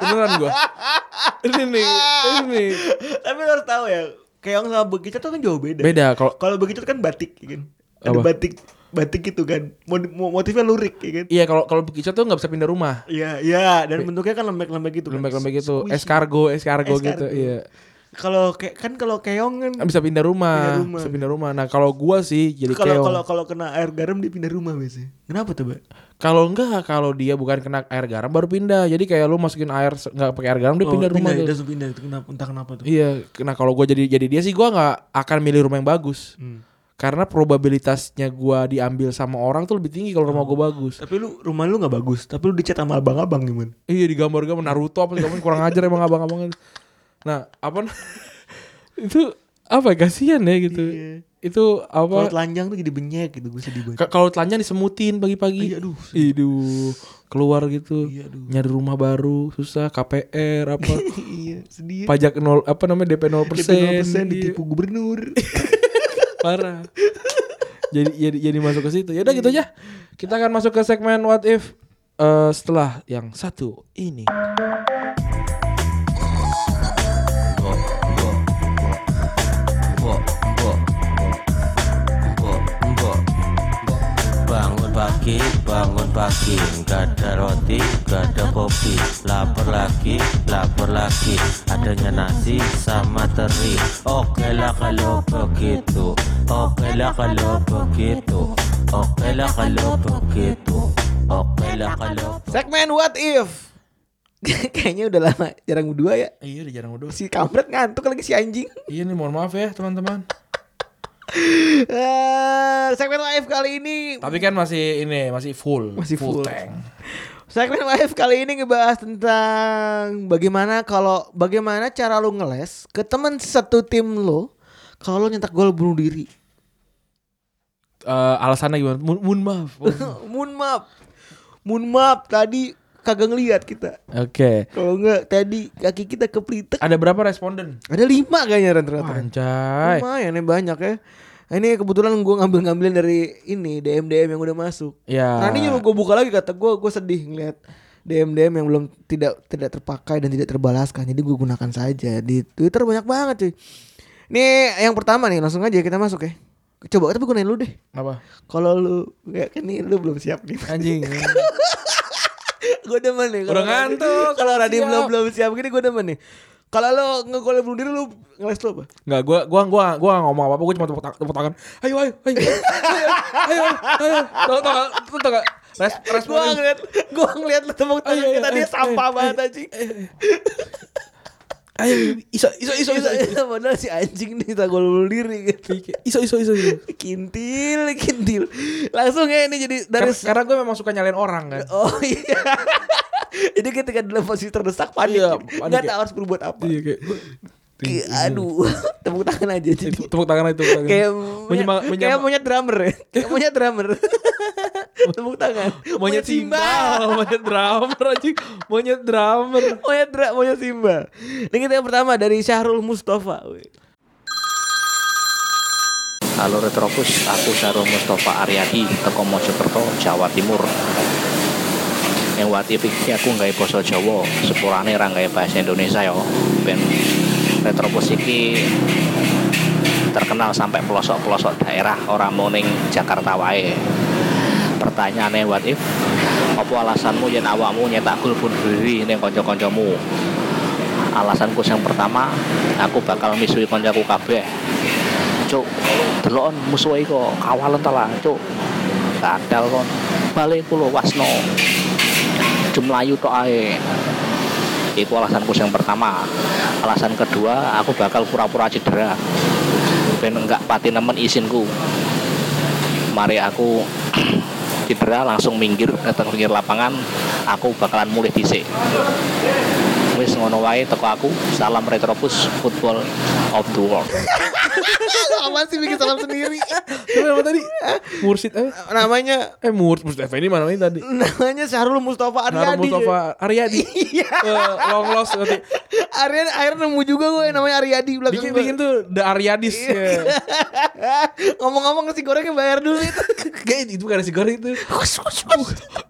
[SPEAKER 3] Beneran gue. Ini nih, ini nih.
[SPEAKER 2] Tapi lu harus tahu ya, keong sama begitu tuh kan jauh beda.
[SPEAKER 3] Beda kalau
[SPEAKER 2] Kalau begitu kan batik ya kan. Ada
[SPEAKER 3] Apa?
[SPEAKER 2] batik batik gitu kan. Mod- mo- Motifnya lurik ya kan.
[SPEAKER 3] iya kalau kalau begitu tuh nggak bisa pindah rumah.
[SPEAKER 2] Iya, iya, dan bentuknya kan lembek-lembek gitu. kan.
[SPEAKER 3] Lembek-lembek gitu,
[SPEAKER 2] Squishy.
[SPEAKER 3] escargo, escargo gitu,
[SPEAKER 2] Escargot.
[SPEAKER 3] iya.
[SPEAKER 2] Kalau ke- kan kalau keong kan
[SPEAKER 3] Bisa pindah rumah,
[SPEAKER 2] Pindah rumah.
[SPEAKER 3] bisa pindah rumah. Nah, kalau gua sih jadi
[SPEAKER 2] kalau
[SPEAKER 3] keong.
[SPEAKER 2] kalau kalau kena air garam dia pindah rumah biasanya. Kenapa tuh, Mbak?
[SPEAKER 3] Kalau enggak, kalau dia bukan kena air garam baru pindah. Jadi kayak lu masukin air se- nggak pakai air garam dia pindah rumah
[SPEAKER 2] Oh, pindah,
[SPEAKER 3] tuh.
[SPEAKER 2] langsung pindah itu kenapa entah kenapa tuh.
[SPEAKER 3] Iya, nah kalau gue jadi jadi dia sih gue nggak akan milih rumah yang bagus, karena probabilitasnya gue diambil sama orang tuh lebih tinggi kalau rumah gue bagus.
[SPEAKER 2] Tapi lu rumah lu nggak bagus, tapi lu dicat sama abang-abang gimana?
[SPEAKER 3] Iya digambar-gambar Naruto apa segala macam, kurang ajar emang abang-abangnya. Nah apa itu apa ya, kasihan ya gitu? Itu
[SPEAKER 2] Kalau
[SPEAKER 3] apa?
[SPEAKER 2] telanjang tuh jadi benyek gitu, gue sedih banget.
[SPEAKER 3] ka- Kalau telanjang disemutin pagi-pagi,
[SPEAKER 2] Iya, aduh.
[SPEAKER 3] Iduh, keluar gitu,
[SPEAKER 2] Iya, aduh.
[SPEAKER 3] nyari rumah baru susah, KPR apa,
[SPEAKER 2] iya, sedih. ya.
[SPEAKER 3] pajak nol apa namanya DP 0%
[SPEAKER 2] Kita 0%
[SPEAKER 3] iya.
[SPEAKER 2] ditipu gubernur.
[SPEAKER 3] parah jadi jadi jadi masuk ke situ ya udah gitu aja kita akan masuk ke segmen what if eh, setelah yang satu ini
[SPEAKER 5] Bangun pagi, bangun pagi Gak ada roti, gak ada kopi Lapar lagi, lapar lagi Adanya nasi sama teri Oke lah kalau begitu Oke lah kalau begitu Oke lah kalau begitu Oke lah kalau
[SPEAKER 2] Segmen what if. Kayaknya udah lama jarang berdua ya.
[SPEAKER 3] iya udah jarang udah
[SPEAKER 2] Si kampret ngantuk lagi si anjing.
[SPEAKER 3] iya nih mohon maaf ya teman-teman
[SPEAKER 2] Eh, segmen what if kali ini
[SPEAKER 3] tapi kan masih ini masih full
[SPEAKER 2] Masih full.
[SPEAKER 3] tank
[SPEAKER 2] Segmen Live kali ini ngebahas tentang bagaimana kalau bagaimana cara lu ngeles ke temen satu tim lu kalau lu nyetak gol bunuh diri.
[SPEAKER 3] Eh, alasannya gimana mohon mohon maaf mohon maaf.
[SPEAKER 2] Moon map. Moon map tadi kagak ngeliat kita.
[SPEAKER 3] oke
[SPEAKER 2] Kalau enggak tadi kaki kita keplitek.
[SPEAKER 3] ada berapa responden
[SPEAKER 2] Ada lima kayaknya Ren, ternyata.
[SPEAKER 3] Anjay
[SPEAKER 2] Lumayan ya banyak ya. Nah, ini kebetulan gue ngambil-ngambilin dari ini DM-DM yang udah masuk.
[SPEAKER 3] Ya.
[SPEAKER 2] Nah ini gue buka lagi kata gue gue sedih ngeliat DM-DM yang belum tidak tidak terpakai dan tidak terbalaskan. Jadi gue gunakan saja di Twitter banyak banget cuy. Nih yang pertama nih langsung aja kita masuk ya. Coba tapi gue nanya lu deh.
[SPEAKER 3] apa
[SPEAKER 2] Kalau lu ya kan nih lu belum siap nih.
[SPEAKER 3] anjing
[SPEAKER 2] gue demen nih. kalau
[SPEAKER 3] Udah ngantuk,
[SPEAKER 2] Kalau Radit
[SPEAKER 3] siap.
[SPEAKER 2] belum belum siap gini gue demen nih. Kalau lo ngegolnya bunuh diri lu ngeles lu apa?
[SPEAKER 3] Enggak, gua gua gua gua nggak ngomong apa-apa, gua cuma tepuk, tang- tepuk tangan. Ayo ayo ayo. Ayo ayo. ayo. Tahu tahu tahu tahu. Res
[SPEAKER 2] Gue
[SPEAKER 3] responin.
[SPEAKER 2] ngeliat, gue ngeliat lu tepuk tangan
[SPEAKER 3] Ayo, ayo,
[SPEAKER 2] kita dia
[SPEAKER 3] ayo,
[SPEAKER 2] sampah
[SPEAKER 3] ayo,
[SPEAKER 2] banget anjing.
[SPEAKER 3] Ayo iso iso iso iso.
[SPEAKER 2] Padahal si anjing nih tak gol bunuh diri gitu.
[SPEAKER 3] Iso iso iso. iso.
[SPEAKER 2] Kintil, kintil. Langsung ya ini jadi dari
[SPEAKER 3] Karena, karena gue memang suka nyalain orang kan.
[SPEAKER 2] Oh iya. Jadi ketika dalam posisi terdesak panik,
[SPEAKER 3] Iya, panik
[SPEAKER 2] nggak
[SPEAKER 3] ya.
[SPEAKER 2] tahu harus berbuat apa.
[SPEAKER 3] Iya kayak gua-
[SPEAKER 2] Ki- aduh, iya. tepuk tangan aja jadi.
[SPEAKER 3] tepuk tangan itu. tepuk tangan.
[SPEAKER 2] Kayak
[SPEAKER 3] Menyema-
[SPEAKER 2] monyet-
[SPEAKER 3] menyema-
[SPEAKER 2] kayak monyet drummer ya. Kayak monyet drummer. tepuk tangan.
[SPEAKER 3] monyet simbal, monyet drummer anjing, monyet drummer.
[SPEAKER 2] Monyet dra, monyet simbal. Ini kita yang pertama dari Syahrul Mustafa. weh.
[SPEAKER 6] Halo Retropus, aku Syarul Mustafa Aryadi, teko Mojokerto, Jawa Timur. Yang wati pikir aku nggak poso Jawa, sepurane ra nggawe bahasa Indonesia yo. Ben Retropus iki terkenal sampai pelosok-pelosok daerah orang moning Jakarta wae. Pertanyaannya what if apa alasanmu yen awakmu nyetak gol bunuh diri ning kanca-kancamu? Alasanku yang pertama, aku bakal misuhi kancaku kabeh cuk delon musuh iko kawalan ta lah cuk kadal kon balik kulo wasno jumlayu tok ae itu alasanku yang pertama alasan kedua aku bakal pura-pura cedera ben enggak pati nemen isinku mari aku cedera langsung minggir datang pinggir lapangan aku bakalan mulih dhisik wis ngono wae teko aku salam retropus football of the world
[SPEAKER 2] Lo apaan sih bikin salam sendiri?
[SPEAKER 3] Tapi apa tadi? Mursid eh
[SPEAKER 2] namanya
[SPEAKER 3] eh mursid mursid ini mana ini tadi?
[SPEAKER 2] namanya Syahrul Mustafa
[SPEAKER 3] Nara
[SPEAKER 2] Aryadi.
[SPEAKER 3] Mustafa Aryadi.
[SPEAKER 2] Iya.
[SPEAKER 3] Eh, long lost nanti.
[SPEAKER 2] Aryadi akhirnya nemu juga gue yang namanya Aryadi belakang.
[SPEAKER 3] Bikin
[SPEAKER 2] gue.
[SPEAKER 3] bikin tuh The Aryadis.
[SPEAKER 2] Iya.
[SPEAKER 3] ya.
[SPEAKER 2] Ngomong-ngomong nasi gorengnya bayar dulu itu.
[SPEAKER 3] Kayak itu bukan nasi goreng itu.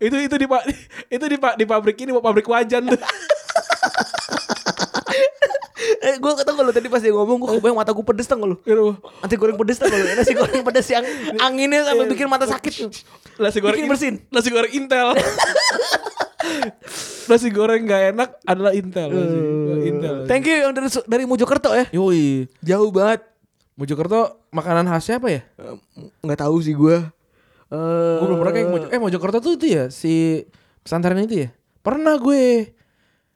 [SPEAKER 3] itu itu di pa- itu di, pa- di pabrik ini mau pabrik wajan tuh.
[SPEAKER 2] eh, gue kata kalau tadi pas dia ngomong gue kebayang mata gue pedes tanggal lu.
[SPEAKER 7] Iya,
[SPEAKER 3] Gitu.
[SPEAKER 2] Nanti goreng pedes tanggal lu. Nasi goreng pedes yang anginnya
[SPEAKER 7] Iya.
[SPEAKER 2] sampai bikin mata sakit.
[SPEAKER 3] Nasi goreng
[SPEAKER 2] Bikin bersin.
[SPEAKER 3] Nasi goreng Intel. nasi goreng nggak enak adalah Intel.
[SPEAKER 2] Eh.
[SPEAKER 3] nasi goreng Intel.
[SPEAKER 2] Thank you yang dari dari Mojokerto ya.
[SPEAKER 3] Yoi.
[SPEAKER 2] Jauh banget.
[SPEAKER 3] Mojokerto makanan khasnya apa ya?
[SPEAKER 2] Nggak tahu sih gue. Eh,
[SPEAKER 3] Gue belum pernah kayak ke Mojo- eh Mojokerto tuh itu ya si pesantren itu ya. Pernah gue.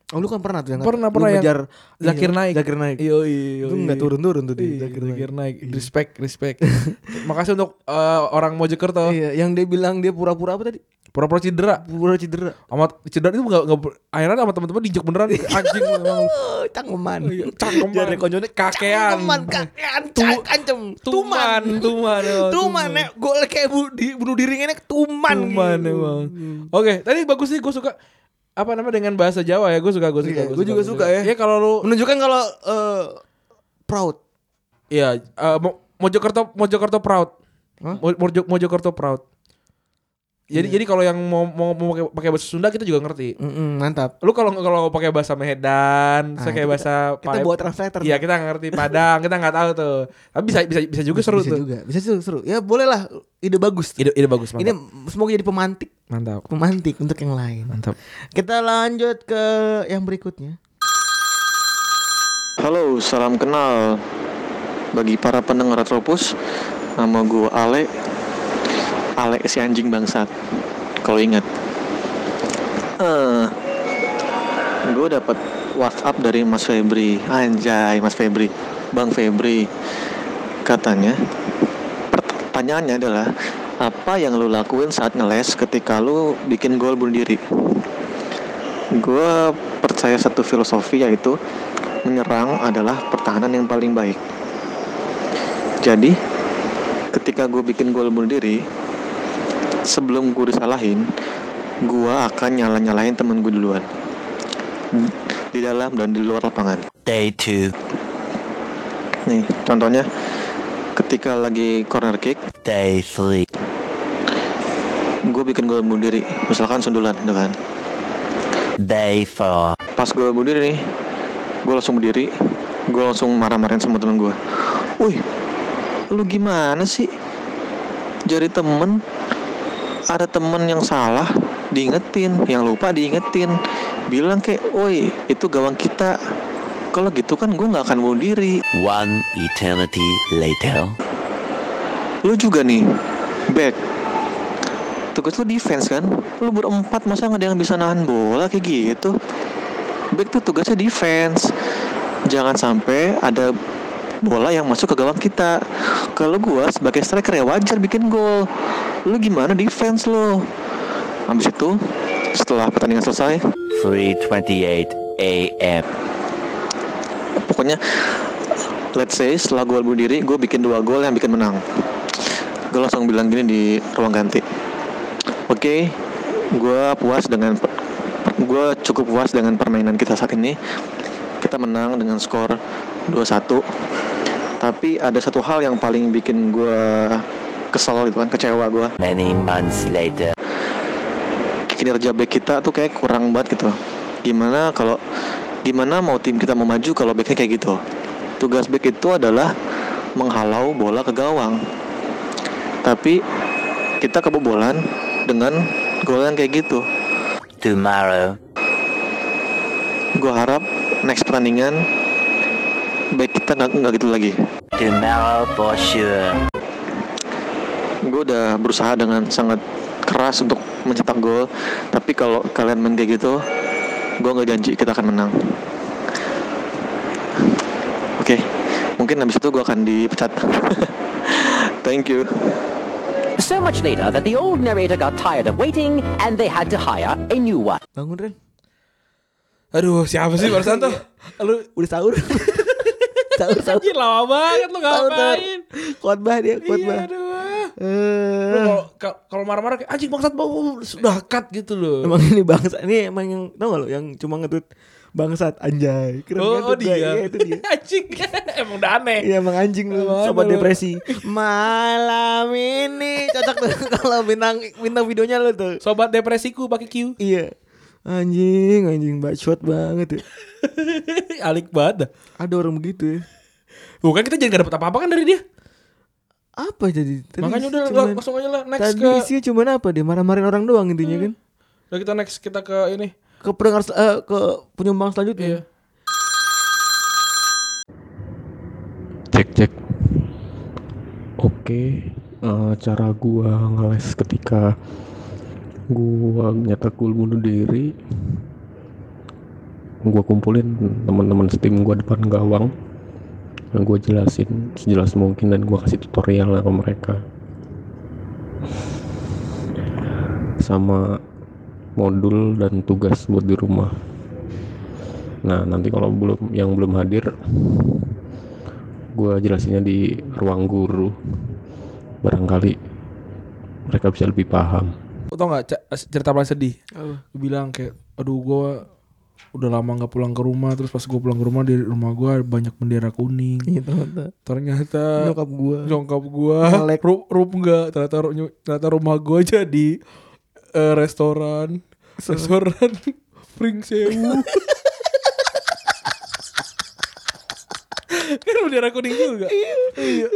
[SPEAKER 2] Oh, lu kan pernah tuh yang
[SPEAKER 3] Pernah
[SPEAKER 2] lu
[SPEAKER 3] pernah yang
[SPEAKER 2] ngejar
[SPEAKER 3] Zakir
[SPEAKER 2] iya,
[SPEAKER 3] Naik.
[SPEAKER 2] Zakir Naik.
[SPEAKER 3] Yoi, yoi.
[SPEAKER 2] Itu nggak turun-turun tuh
[SPEAKER 3] Iya,
[SPEAKER 2] dia
[SPEAKER 3] Zakir,
[SPEAKER 2] Zakir Naik.
[SPEAKER 3] Naik. Respect, respect. Makasih untuk eh, orang Mojokerto.
[SPEAKER 2] Iya, yang dia bilang dia pura-pura apa tadi?
[SPEAKER 3] Pura-pura cedera.
[SPEAKER 2] Pura cedera.
[SPEAKER 3] Sama cedera itu enggak enggak akhirnya sama teman-teman dijek beneran
[SPEAKER 2] Iya.
[SPEAKER 3] anjing emang lu.
[SPEAKER 2] Oh, cangkeman.
[SPEAKER 3] iya, cangkeman.
[SPEAKER 2] Jadi konjone
[SPEAKER 3] Kakean.
[SPEAKER 2] Cangkeman, kakean, cang- ancem.
[SPEAKER 3] Tuman, tuman. emang,
[SPEAKER 2] Tuman eh. nek gol kayak bu, di, bunuh diri ini tuman. gitu.
[SPEAKER 3] Tuman emang. Oke, tadi bagus sih gue suka apa namanya dengan bahasa Jawa ya gue suka gue suka
[SPEAKER 2] Iya, gua juga suka ya.
[SPEAKER 3] Iya kalau lu
[SPEAKER 2] Menunjukkan kalau eh, proud.
[SPEAKER 3] Iya, eh, Mo- Mojokerto Mojokerto proud. Mo- Mojo, Mojokerto proud. Jadi
[SPEAKER 2] Iya.
[SPEAKER 3] jadi kalau yang mau mau, mau pakai, pakai bahasa Sunda kita juga ngerti.
[SPEAKER 2] mantap.
[SPEAKER 3] Lu kalau kalau pakai bahasa Medan,
[SPEAKER 2] Nah,
[SPEAKER 3] saya kayak
[SPEAKER 2] itu
[SPEAKER 3] bahasa
[SPEAKER 2] Kita
[SPEAKER 3] Palem-
[SPEAKER 2] buat translator.
[SPEAKER 3] Iya, kita nggak ngerti Padang, kita nggak tahu tuh. Tapi bisa bisa bisa juga seru
[SPEAKER 2] bisa
[SPEAKER 3] tuh.
[SPEAKER 2] juga. Bisa seru, seru. Ya boleh lah. Ide bagus.
[SPEAKER 7] Iya,
[SPEAKER 3] Ide ide bagus
[SPEAKER 2] Ini
[SPEAKER 3] mantap.
[SPEAKER 2] semoga jadi pemantik,
[SPEAKER 3] mantap.
[SPEAKER 2] pemantik untuk yang lain.
[SPEAKER 3] Mantap.
[SPEAKER 2] Kita lanjut ke yang berikutnya.
[SPEAKER 8] Halo, salam kenal bagi para pendengar Retropus. Nama gue Ale. Ale si anjing bangsat. Kalau ingat. Eh, gue dapat WhatsApp dari Mas Febri. Anjay, Mas Febri. Bang Febri. Katanya pertanyaannya adalah apa yang lu lakuin saat ngeles ketika lu bikin gol bunuh diri? Gue percaya satu filosofi yaitu menyerang adalah pertahanan yang paling baik. Jadi ketika gue bikin gol bunuh diri, sebelum gue disalahin, gue akan nyala-nyalain temen gue duluan. Di dalam dan di luar lapangan.
[SPEAKER 5] Day 2,
[SPEAKER 8] Nih, contohnya ketika lagi corner kick,
[SPEAKER 5] day 3,
[SPEAKER 8] gue bikin gol bunuh diri. Misalkan sundulan, gitu kan.
[SPEAKER 5] day 4,
[SPEAKER 8] pas gue bunuh diri nih gue langsung berdiri gue langsung marah-marahin sama temen gue wih lu gimana sih jadi temen ada temen yang salah diingetin yang lupa diingetin bilang kayak woi itu gawang kita kalau gitu kan gue nggak akan bunuh diri
[SPEAKER 9] One eternity later.
[SPEAKER 8] lu juga nih back tugas lu defense kan lu berempat masa nggak ada yang bisa nahan bola kayak gitu back tuh tugasnya defense jangan sampai ada bola yang masuk ke gawang kita kalau gua sebagai striker ya wajar bikin gol lu gimana defense lo habis itu setelah pertandingan selesai
[SPEAKER 9] 3:28 a.m.
[SPEAKER 8] pokoknya let's say setelah gol bunuh diri gue bikin dua gol yang bikin menang gue langsung bilang gini di ruang ganti oke gue puas dengan gue cukup puas dengan permainan kita saat ini kita menang dengan skor 2-1 tapi ada satu hal yang paling bikin gue kesel gitu kan kecewa gue
[SPEAKER 9] Many months later.
[SPEAKER 8] kinerja back kita tuh kayak kurang banget gitu. Gimana kalau gimana mau tim kita mau maju kalau backnya kayak gitu? Tugas back itu adalah menghalau bola ke gawang. Tapi kita kebobolan dengan gol yang kayak gitu.
[SPEAKER 9] Tomorrow.
[SPEAKER 8] Gue harap next pertandingan back kita nggak nggak gitu lagi.
[SPEAKER 9] Tomorrow for sure.
[SPEAKER 8] gue udah berusaha dengan sangat keras untuk mencetak gol tapi kalau kalian main kayak gitu gue nggak janji kita akan menang oke mungkin habis itu gue akan dipecat thank you
[SPEAKER 10] So much later that the old narrator got tired of waiting and they had to hire a new one.
[SPEAKER 2] Bangun Ren.
[SPEAKER 3] Aduh, siapa sih barusan tuh?
[SPEAKER 2] Lu udah sahur? sahur sahur.
[SPEAKER 3] Anjir lama banget lu
[SPEAKER 2] Sahur, sahur.
[SPEAKER 3] ngapain?
[SPEAKER 2] Khotbah dia,
[SPEAKER 3] Iya,
[SPEAKER 2] khotbah.
[SPEAKER 3] aduh. Lu
[SPEAKER 2] Eh,
[SPEAKER 3] kalau- ka- kalau marah-marah kayak anjing bangsat bau sudah cut gitu loh.
[SPEAKER 2] emang ini bangsa ini emang yang tau gak lo yang cuma ngetut bangsat anjay. Keren
[SPEAKER 3] oh,
[SPEAKER 2] banget
[SPEAKER 3] oh
[SPEAKER 2] tuh gua.
[SPEAKER 3] dia.
[SPEAKER 2] Iya, itu dia.
[SPEAKER 3] anjing emang udah aneh.
[SPEAKER 2] Iya emang anjing lu
[SPEAKER 3] Emang
[SPEAKER 2] sobat
[SPEAKER 3] aneh lu.
[SPEAKER 2] depresi. Malam ini cocok tuh kalau bintang bintang videonya lu tuh.
[SPEAKER 3] Sobat depresiku pakai Q.
[SPEAKER 2] Iya. Anjing, anjing bacot banget ya.
[SPEAKER 3] Alik banget. dah.
[SPEAKER 2] Ada orang begitu ya.
[SPEAKER 3] Bukan kita jadi gak dapet apa-apa kan dari dia.
[SPEAKER 2] Apa jadi? Tadi
[SPEAKER 3] Makanya udah lah,
[SPEAKER 2] cuman-
[SPEAKER 3] langsung aja lah next
[SPEAKER 2] Tadi
[SPEAKER 3] ke Hmm.
[SPEAKER 2] isinya cuman apa deh? Marah-marahin orang doang intinya kan.
[SPEAKER 3] udah kita next kita ke ini.
[SPEAKER 2] Ke pendengar sel- eh, ke penyumbang selanjutnya.
[SPEAKER 3] Iya.
[SPEAKER 4] cek cek oke eh, cara gua ngeles ketika gua nyetak gol bunuh diri gua kumpulin teman-teman tim gua depan gawang dan gua jelasin sejelas mungkin dan gua kasih tutorial lah ke mereka sama modul dan tugas buat di rumah nah nanti kalau belum yang belum hadir gue jelasinnya di ruang guru barangkali mereka bisa lebih paham
[SPEAKER 3] Tau gak ca- eh, cerita paling sedih? Gue bilang kayak aduh gua udah lama nggak pulang ke rumah terus pas gua pulang ke rumah di rumah gua banyak bendera kuning
[SPEAKER 2] Iya, teman-teman.
[SPEAKER 3] ternyata
[SPEAKER 2] Nyokap gua.
[SPEAKER 3] nyongkap gua
[SPEAKER 2] Melek.
[SPEAKER 3] ru rum enggak ternyata ru- nyu- ternyata rumah gua jadi eh, restoran restoran Pring Sewu kan bendera kuning juga iya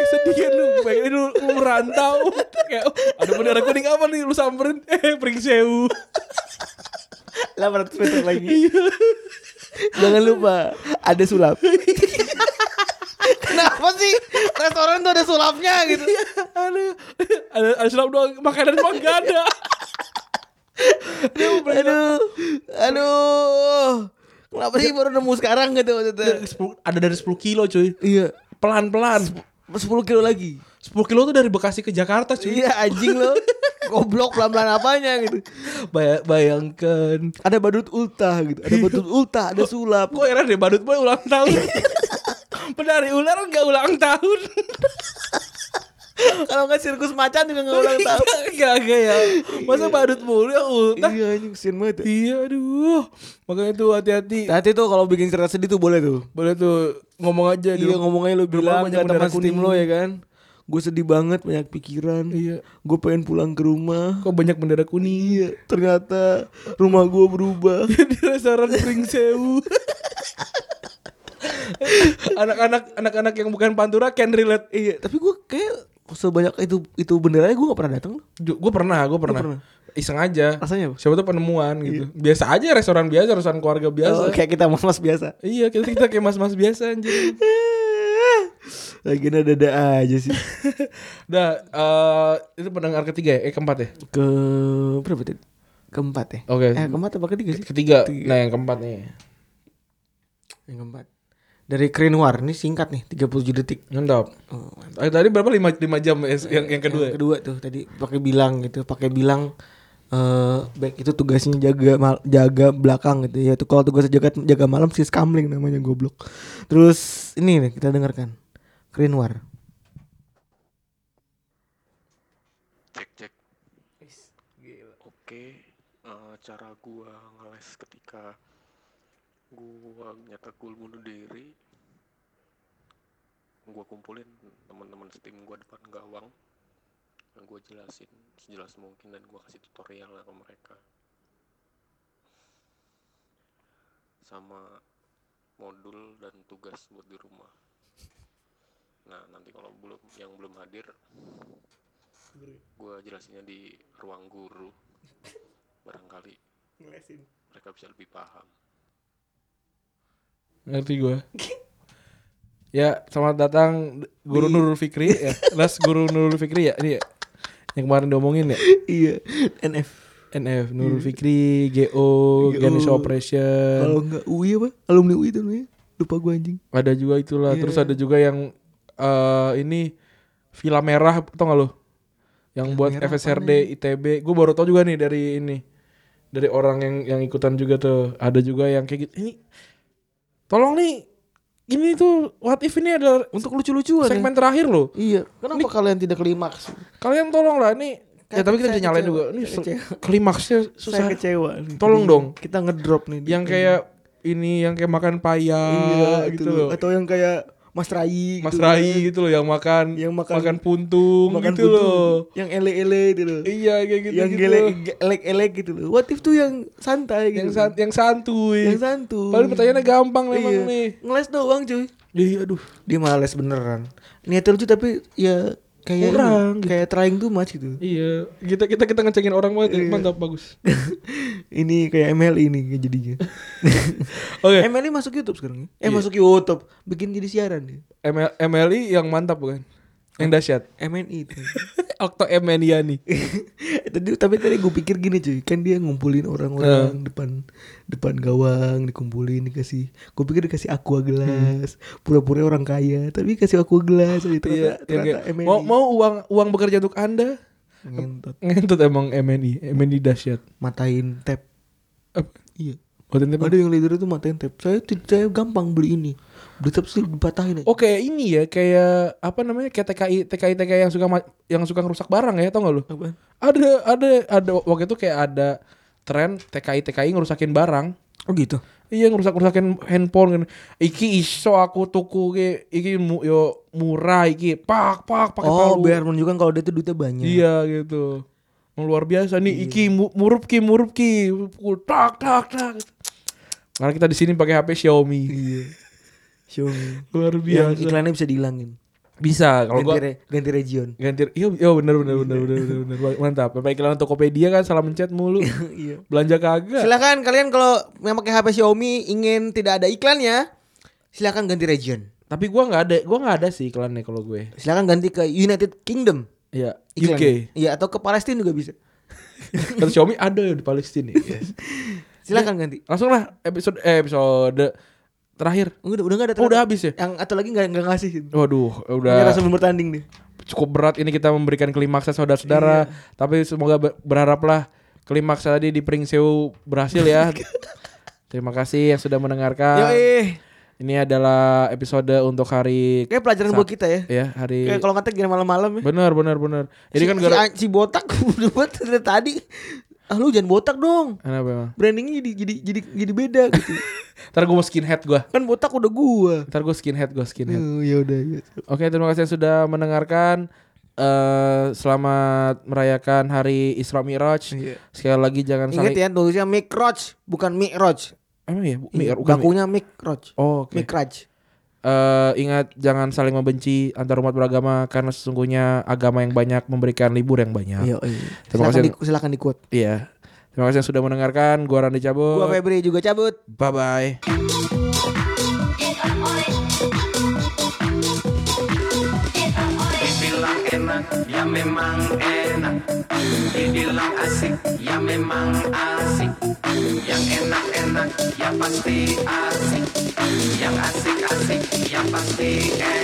[SPEAKER 3] Eh, sedih kan lu pengen lu, lu merantau kayak oh, ada bendera kuning apa nih lu samperin eh Pring Sewu
[SPEAKER 2] 800 meter lagi. Jangan lupa ada sulap. Kenapa sih restoran tuh ada sulapnya gitu?
[SPEAKER 3] Aduh, ada ada silam doang makanan mah gak ada
[SPEAKER 2] aduh, aduh. Kenapa sih baru nemu sekarang gitu maksudnya?
[SPEAKER 3] ada dari 10 kilo cuy
[SPEAKER 2] Iya,
[SPEAKER 3] pelan-pelan
[SPEAKER 2] 10 kilo lagi.
[SPEAKER 3] 10 kilo tuh dari Bekasi ke Jakarta cuy.
[SPEAKER 2] Iya anjing lo. Goblok pelan-pelan apanya gitu.
[SPEAKER 3] Bay- bayangkan.
[SPEAKER 2] Ada badut ultah gitu. Ada badut ultah, ada sulap.
[SPEAKER 3] Gue heran deh badut boy ulang tahun. Penari ular nggak ulang tahun.
[SPEAKER 2] Kalau nggak sirkus macan juga nggak ulang tahun.
[SPEAKER 3] Gak gak Iya, ya. Masa badut mulu ya ultah.
[SPEAKER 2] Iya anjing kesian banget. ya.
[SPEAKER 3] Iya aduh. Makanya tuh hati-hati.
[SPEAKER 2] Hati tuh kalau bikin cerita sedih tuh boleh tuh.
[SPEAKER 3] Boleh tuh ngomong aja di
[SPEAKER 2] Iya
[SPEAKER 3] rumah.
[SPEAKER 2] ngomongnya lu
[SPEAKER 3] di rumah
[SPEAKER 2] bilang ke
[SPEAKER 3] banyak
[SPEAKER 2] teman
[SPEAKER 3] bendera
[SPEAKER 2] tim
[SPEAKER 3] kuning.
[SPEAKER 2] lo ya kan Gue sedih banget banyak pikiran
[SPEAKER 3] Iya.
[SPEAKER 2] Gue pengen pulang ke rumah
[SPEAKER 3] Kok banyak bendera kuning.
[SPEAKER 2] Iya ternyata rumah gue berubah
[SPEAKER 3] di restoran Pring Sewu. anak-anak anak-anak yang bukan pantura can relate iya,
[SPEAKER 2] Iya tapi gue kayak sebanyak itu itu benderanya gue gak pernah datang
[SPEAKER 3] Gue pernah, gue pernah.
[SPEAKER 2] pernah?
[SPEAKER 3] iseng aja.
[SPEAKER 7] Rasanya apa? Iya.
[SPEAKER 3] Siapa tuh penemuan gitu. Biasa aja restoran biasa, restoran keluarga biasa.
[SPEAKER 7] Oh, kayak kita mas-mas biasa.
[SPEAKER 3] Iya, kita kita kayak mas-mas biasa anjir.
[SPEAKER 7] Lagi dada aja sih.
[SPEAKER 3] Udah, eh itu pendengar ketiga ya? Eh, keempat ya?
[SPEAKER 7] Ke berapa tadi? Keempat ya?
[SPEAKER 3] Oke.
[SPEAKER 7] Eh, keempat apa ketiga sih?
[SPEAKER 3] Ketiga. Nah, yang keempat nih.
[SPEAKER 7] Yang keempat. Dari Krenwar, ini singkat nih, 37 detik.
[SPEAKER 3] Mantap.
[SPEAKER 7] Oh,
[SPEAKER 3] Eh, Tadi berapa? 5, 5 jam ya, yang, yang kedua
[SPEAKER 7] Yang
[SPEAKER 3] ya?
[SPEAKER 7] kedua tuh tadi pakai bilang gitu, pakai bilang eh baik itu tugasnya jaga mal- jaga belakang gitu ya. Itu kalau tugas jaga jaga malam si skamling namanya goblok. Terus ini nih kita dengarkan. Krenwar.
[SPEAKER 8] cek cek oke eh, cara gua ngeles ketika gua nyata gua bunuh diri gua kumpulin teman-teman tim gua depan gawang Dan gua jelasin sejelas mungkin dan gua kasih tutorial lah ke mereka sama modul dan tugas buat di rumah nah nanti kalau belum yang belum hadir gue jelasinnya di ruang guru barangkali mereka bisa lebih paham
[SPEAKER 3] Ngerti gue. ya, selamat datang Guru Nurul Fikri ya. Les Guru Nurul Fikri ya. Ini ya. Yang kemarin diomongin ya.
[SPEAKER 7] iya, NF.
[SPEAKER 3] NF Nurul Fikri, GO,
[SPEAKER 7] GO.
[SPEAKER 3] Ganesha Operation.
[SPEAKER 7] Kalau enggak UI apa? Alumni UI itu namanya. Lupa gua anjing.
[SPEAKER 3] Ada juga itulah.
[SPEAKER 7] Iya,
[SPEAKER 3] Terus ada juga yang eh ini Villa Merah, tau gak lo? Yang buat
[SPEAKER 7] Merah
[SPEAKER 3] FSRD, ITB. Gue baru tau juga nih dari ini. Dari orang yang yang ikutan juga tuh. Ada juga yang kayak gitu. Ini tolong nih ini tuh what if ini adalah
[SPEAKER 7] Untuk lucu-lucuan. ya.
[SPEAKER 3] segmen terakhir loh.
[SPEAKER 7] Iya, kenapa kalian tidak klimaks?
[SPEAKER 3] Kalian tolong lah ini. Ya
[SPEAKER 7] Kayak
[SPEAKER 3] tapi kita
[SPEAKER 7] saya
[SPEAKER 3] bisa nyalain
[SPEAKER 7] kecewa,
[SPEAKER 3] juga. Ini
[SPEAKER 7] saya
[SPEAKER 3] su-
[SPEAKER 7] kecewa.
[SPEAKER 3] klimaksnya susah.
[SPEAKER 7] Saya kecewa. nih.
[SPEAKER 3] Tolong
[SPEAKER 7] Jadi,
[SPEAKER 3] dong.
[SPEAKER 7] Kita ngedrop nih.
[SPEAKER 3] Yang kayak ini yang kayak makan paya
[SPEAKER 7] iya,
[SPEAKER 3] gitu loh.
[SPEAKER 7] Atau yang kayak Mas Rai.
[SPEAKER 3] Mas
[SPEAKER 7] gitu
[SPEAKER 3] Rai gitu loh yang makan
[SPEAKER 7] Yang makan-
[SPEAKER 3] makan puntung
[SPEAKER 7] Makan
[SPEAKER 3] gitu
[SPEAKER 7] buntu.
[SPEAKER 3] loh.
[SPEAKER 7] Yang ele-ele gitu loh.
[SPEAKER 3] Iya kayak gitu
[SPEAKER 7] yang
[SPEAKER 3] gitu.
[SPEAKER 7] gele- ge- elek-elek gitu loh. What if tuh yang santai gitu.
[SPEAKER 3] yang san- yang santuy.
[SPEAKER 7] Yang santuy.
[SPEAKER 3] Padahal pertanyaannya gampang memang
[SPEAKER 7] Iya.
[SPEAKER 3] nih.
[SPEAKER 7] Ngeles doang cuy.
[SPEAKER 3] Iya aduh.
[SPEAKER 7] Dia malah les beneran. Niatnya lucu tapi ya kayak
[SPEAKER 3] Kurang,
[SPEAKER 7] ini, kayak trying too much gitu.
[SPEAKER 3] Iya. Kita kita kita ngecengin orang banget.
[SPEAKER 7] Iya.
[SPEAKER 3] ya. Mantap bagus.
[SPEAKER 7] ini kayak MLI nih jadinya.
[SPEAKER 3] Oke. Iya.
[SPEAKER 7] MLI masuk YouTube sekarang. ya? Eh masuk YouTube, bikin jadi siaran dia.
[SPEAKER 3] ML- MLI yang mantap bukan? Yang dahsyat.
[SPEAKER 7] MNI E itu.
[SPEAKER 3] Okto Emeniani.
[SPEAKER 7] Iya, tadi tapi tadi gue pikir gini cuy, kan dia ngumpulin orang-orang depan depan gawang, dikumpulin dikasih. Gue pikir dikasih aqua
[SPEAKER 3] Hmm.
[SPEAKER 7] gelas, pura-pura orang kaya, tapi kasih aqua gelas gitu.
[SPEAKER 3] Iya, yang
[SPEAKER 7] Ternyata, ternyata
[SPEAKER 3] kayak,
[SPEAKER 7] MNI.
[SPEAKER 3] mau mau uang uang bekerja untuk anda
[SPEAKER 7] Ngentot.
[SPEAKER 3] ngentut emang MNI MNI dahsyat
[SPEAKER 7] matain tab.
[SPEAKER 3] Apa?
[SPEAKER 7] Iya.
[SPEAKER 3] Buat ente, Bang.
[SPEAKER 7] Ada yang leader itu matain tab. Saya ti- saya gampang beli ini. Beli tab sih dipatahin aja.
[SPEAKER 3] Oh kayak ini ya kayak apa namanya kayak TKI TKI TKI yang suka ma- yang suka ngerusak barang ya tau gak lu?
[SPEAKER 7] Apaan?
[SPEAKER 3] Ada ada ada waktu itu kayak ada tren TKI TKI ngerusakin barang.
[SPEAKER 7] Oh gitu.
[SPEAKER 3] Iya ngerusak ngerusakin handphone kan. Iki iso aku tuku ki iki mu, yo murah iki pak pak pakai
[SPEAKER 7] oh,
[SPEAKER 3] palu.
[SPEAKER 7] biar menunjukkan kalau dia tuh duitnya banyak.
[SPEAKER 3] Iya gitu. Emang luar biasa
[SPEAKER 7] Hmm.
[SPEAKER 3] nih iki mu- murup ki murup ki Pukul, tak tak tak. Karena kita di sini pakai HP Xiaomi.
[SPEAKER 7] Iya. Xiaomi.
[SPEAKER 3] Luar
[SPEAKER 7] Yang
[SPEAKER 3] biasa.
[SPEAKER 7] iklannya bisa dihilangin.
[SPEAKER 3] Bisa kalau
[SPEAKER 7] Ganti,
[SPEAKER 3] gua
[SPEAKER 7] re- ganti region.
[SPEAKER 3] ganti iya iya benar benar benar benar benar benar mantap Bapak iklan Tokopedia kan salah mencet mulu
[SPEAKER 7] Iya.
[SPEAKER 3] belanja kagak
[SPEAKER 7] Silakan kalian kalau yang pakai HP Xiaomi ingin tidak ada iklannya, silakan ganti region.
[SPEAKER 3] tapi gua nggak ada gua nggak ada sih iklannya kalau gue
[SPEAKER 7] Silakan ganti ke United Kingdom.
[SPEAKER 3] ya
[SPEAKER 7] iklannya.
[SPEAKER 3] UK
[SPEAKER 7] Iya, atau ke Palestina juga bisa.
[SPEAKER 3] terus Xiaomi ada ya di Palestina yes.
[SPEAKER 7] Silakan ganti.
[SPEAKER 3] langsung lah episode eh, episode terakhir
[SPEAKER 7] Udah udah enggak ada.
[SPEAKER 3] Oh, udah
[SPEAKER 7] ternyata.
[SPEAKER 3] habis ya?
[SPEAKER 7] Yang atau lagi enggak enggak ngasih.
[SPEAKER 3] waduh
[SPEAKER 7] Menyerah
[SPEAKER 3] udah
[SPEAKER 7] sebelum bertanding nih.
[SPEAKER 3] cukup berat ini kita memberikan klimaksnya saudara-saudara
[SPEAKER 7] Iya.
[SPEAKER 3] tapi semoga ber- berharaplah klimaks tadi di Pringsewu berhasil ya terima kasih yang sudah mendengarkan
[SPEAKER 7] Yoi.
[SPEAKER 3] ini adalah episode untuk hari
[SPEAKER 7] Kayak pelajaran buat kita ya.
[SPEAKER 3] ya hari
[SPEAKER 7] Kayak kalau ngetek gini malam-malam ya.
[SPEAKER 3] Benar, benar, benar. Jadi
[SPEAKER 7] Si-
[SPEAKER 3] kan gara
[SPEAKER 7] si, si botak udah buat dari tadi. Ah lu jangan botak dong.
[SPEAKER 3] Kenapa emang?
[SPEAKER 7] Brandingnya jadi jadi jadi jadi beda gitu.
[SPEAKER 3] Ntar gue mau skinhead gue.
[SPEAKER 7] kan botak udah gua.
[SPEAKER 3] Ntar gue skinhead, gue skinhead.
[SPEAKER 7] Oh, ya udah. ya.
[SPEAKER 3] Oke, terima kasih yang sudah mendengarkan. eh selamat merayakan hari Isra Miraj. Sekali lagi jangan
[SPEAKER 7] Iya. Ingat
[SPEAKER 3] saling.
[SPEAKER 7] ya tulisnya Mikroj bukan Mikroj.
[SPEAKER 3] Emang ya? Bu- Mi-
[SPEAKER 7] Iya,
[SPEAKER 3] bukan Mi-
[SPEAKER 7] Bakunya Mikroj.
[SPEAKER 3] Oh, oke.
[SPEAKER 7] Mikraj.
[SPEAKER 3] Eh, ingat jangan saling membenci antar umat beragama karena sesungguhnya agama yang banyak memberikan libur yang banyak.
[SPEAKER 2] Iya, iya. Silakan
[SPEAKER 3] Terima kasih.
[SPEAKER 2] di, silakan di quote.
[SPEAKER 3] Iya. Terima kasih yang sudah mendengarkan. Gua Randy
[SPEAKER 2] Gua
[SPEAKER 3] Cabut.
[SPEAKER 2] Febri juga cabut.
[SPEAKER 3] Bye bye.
[SPEAKER 1] Dibilang enak, ya memang enak Dibilang asik, ya memang asik Yang enak-enak, ya pasti asik Yang asik-asik, ya pasti enak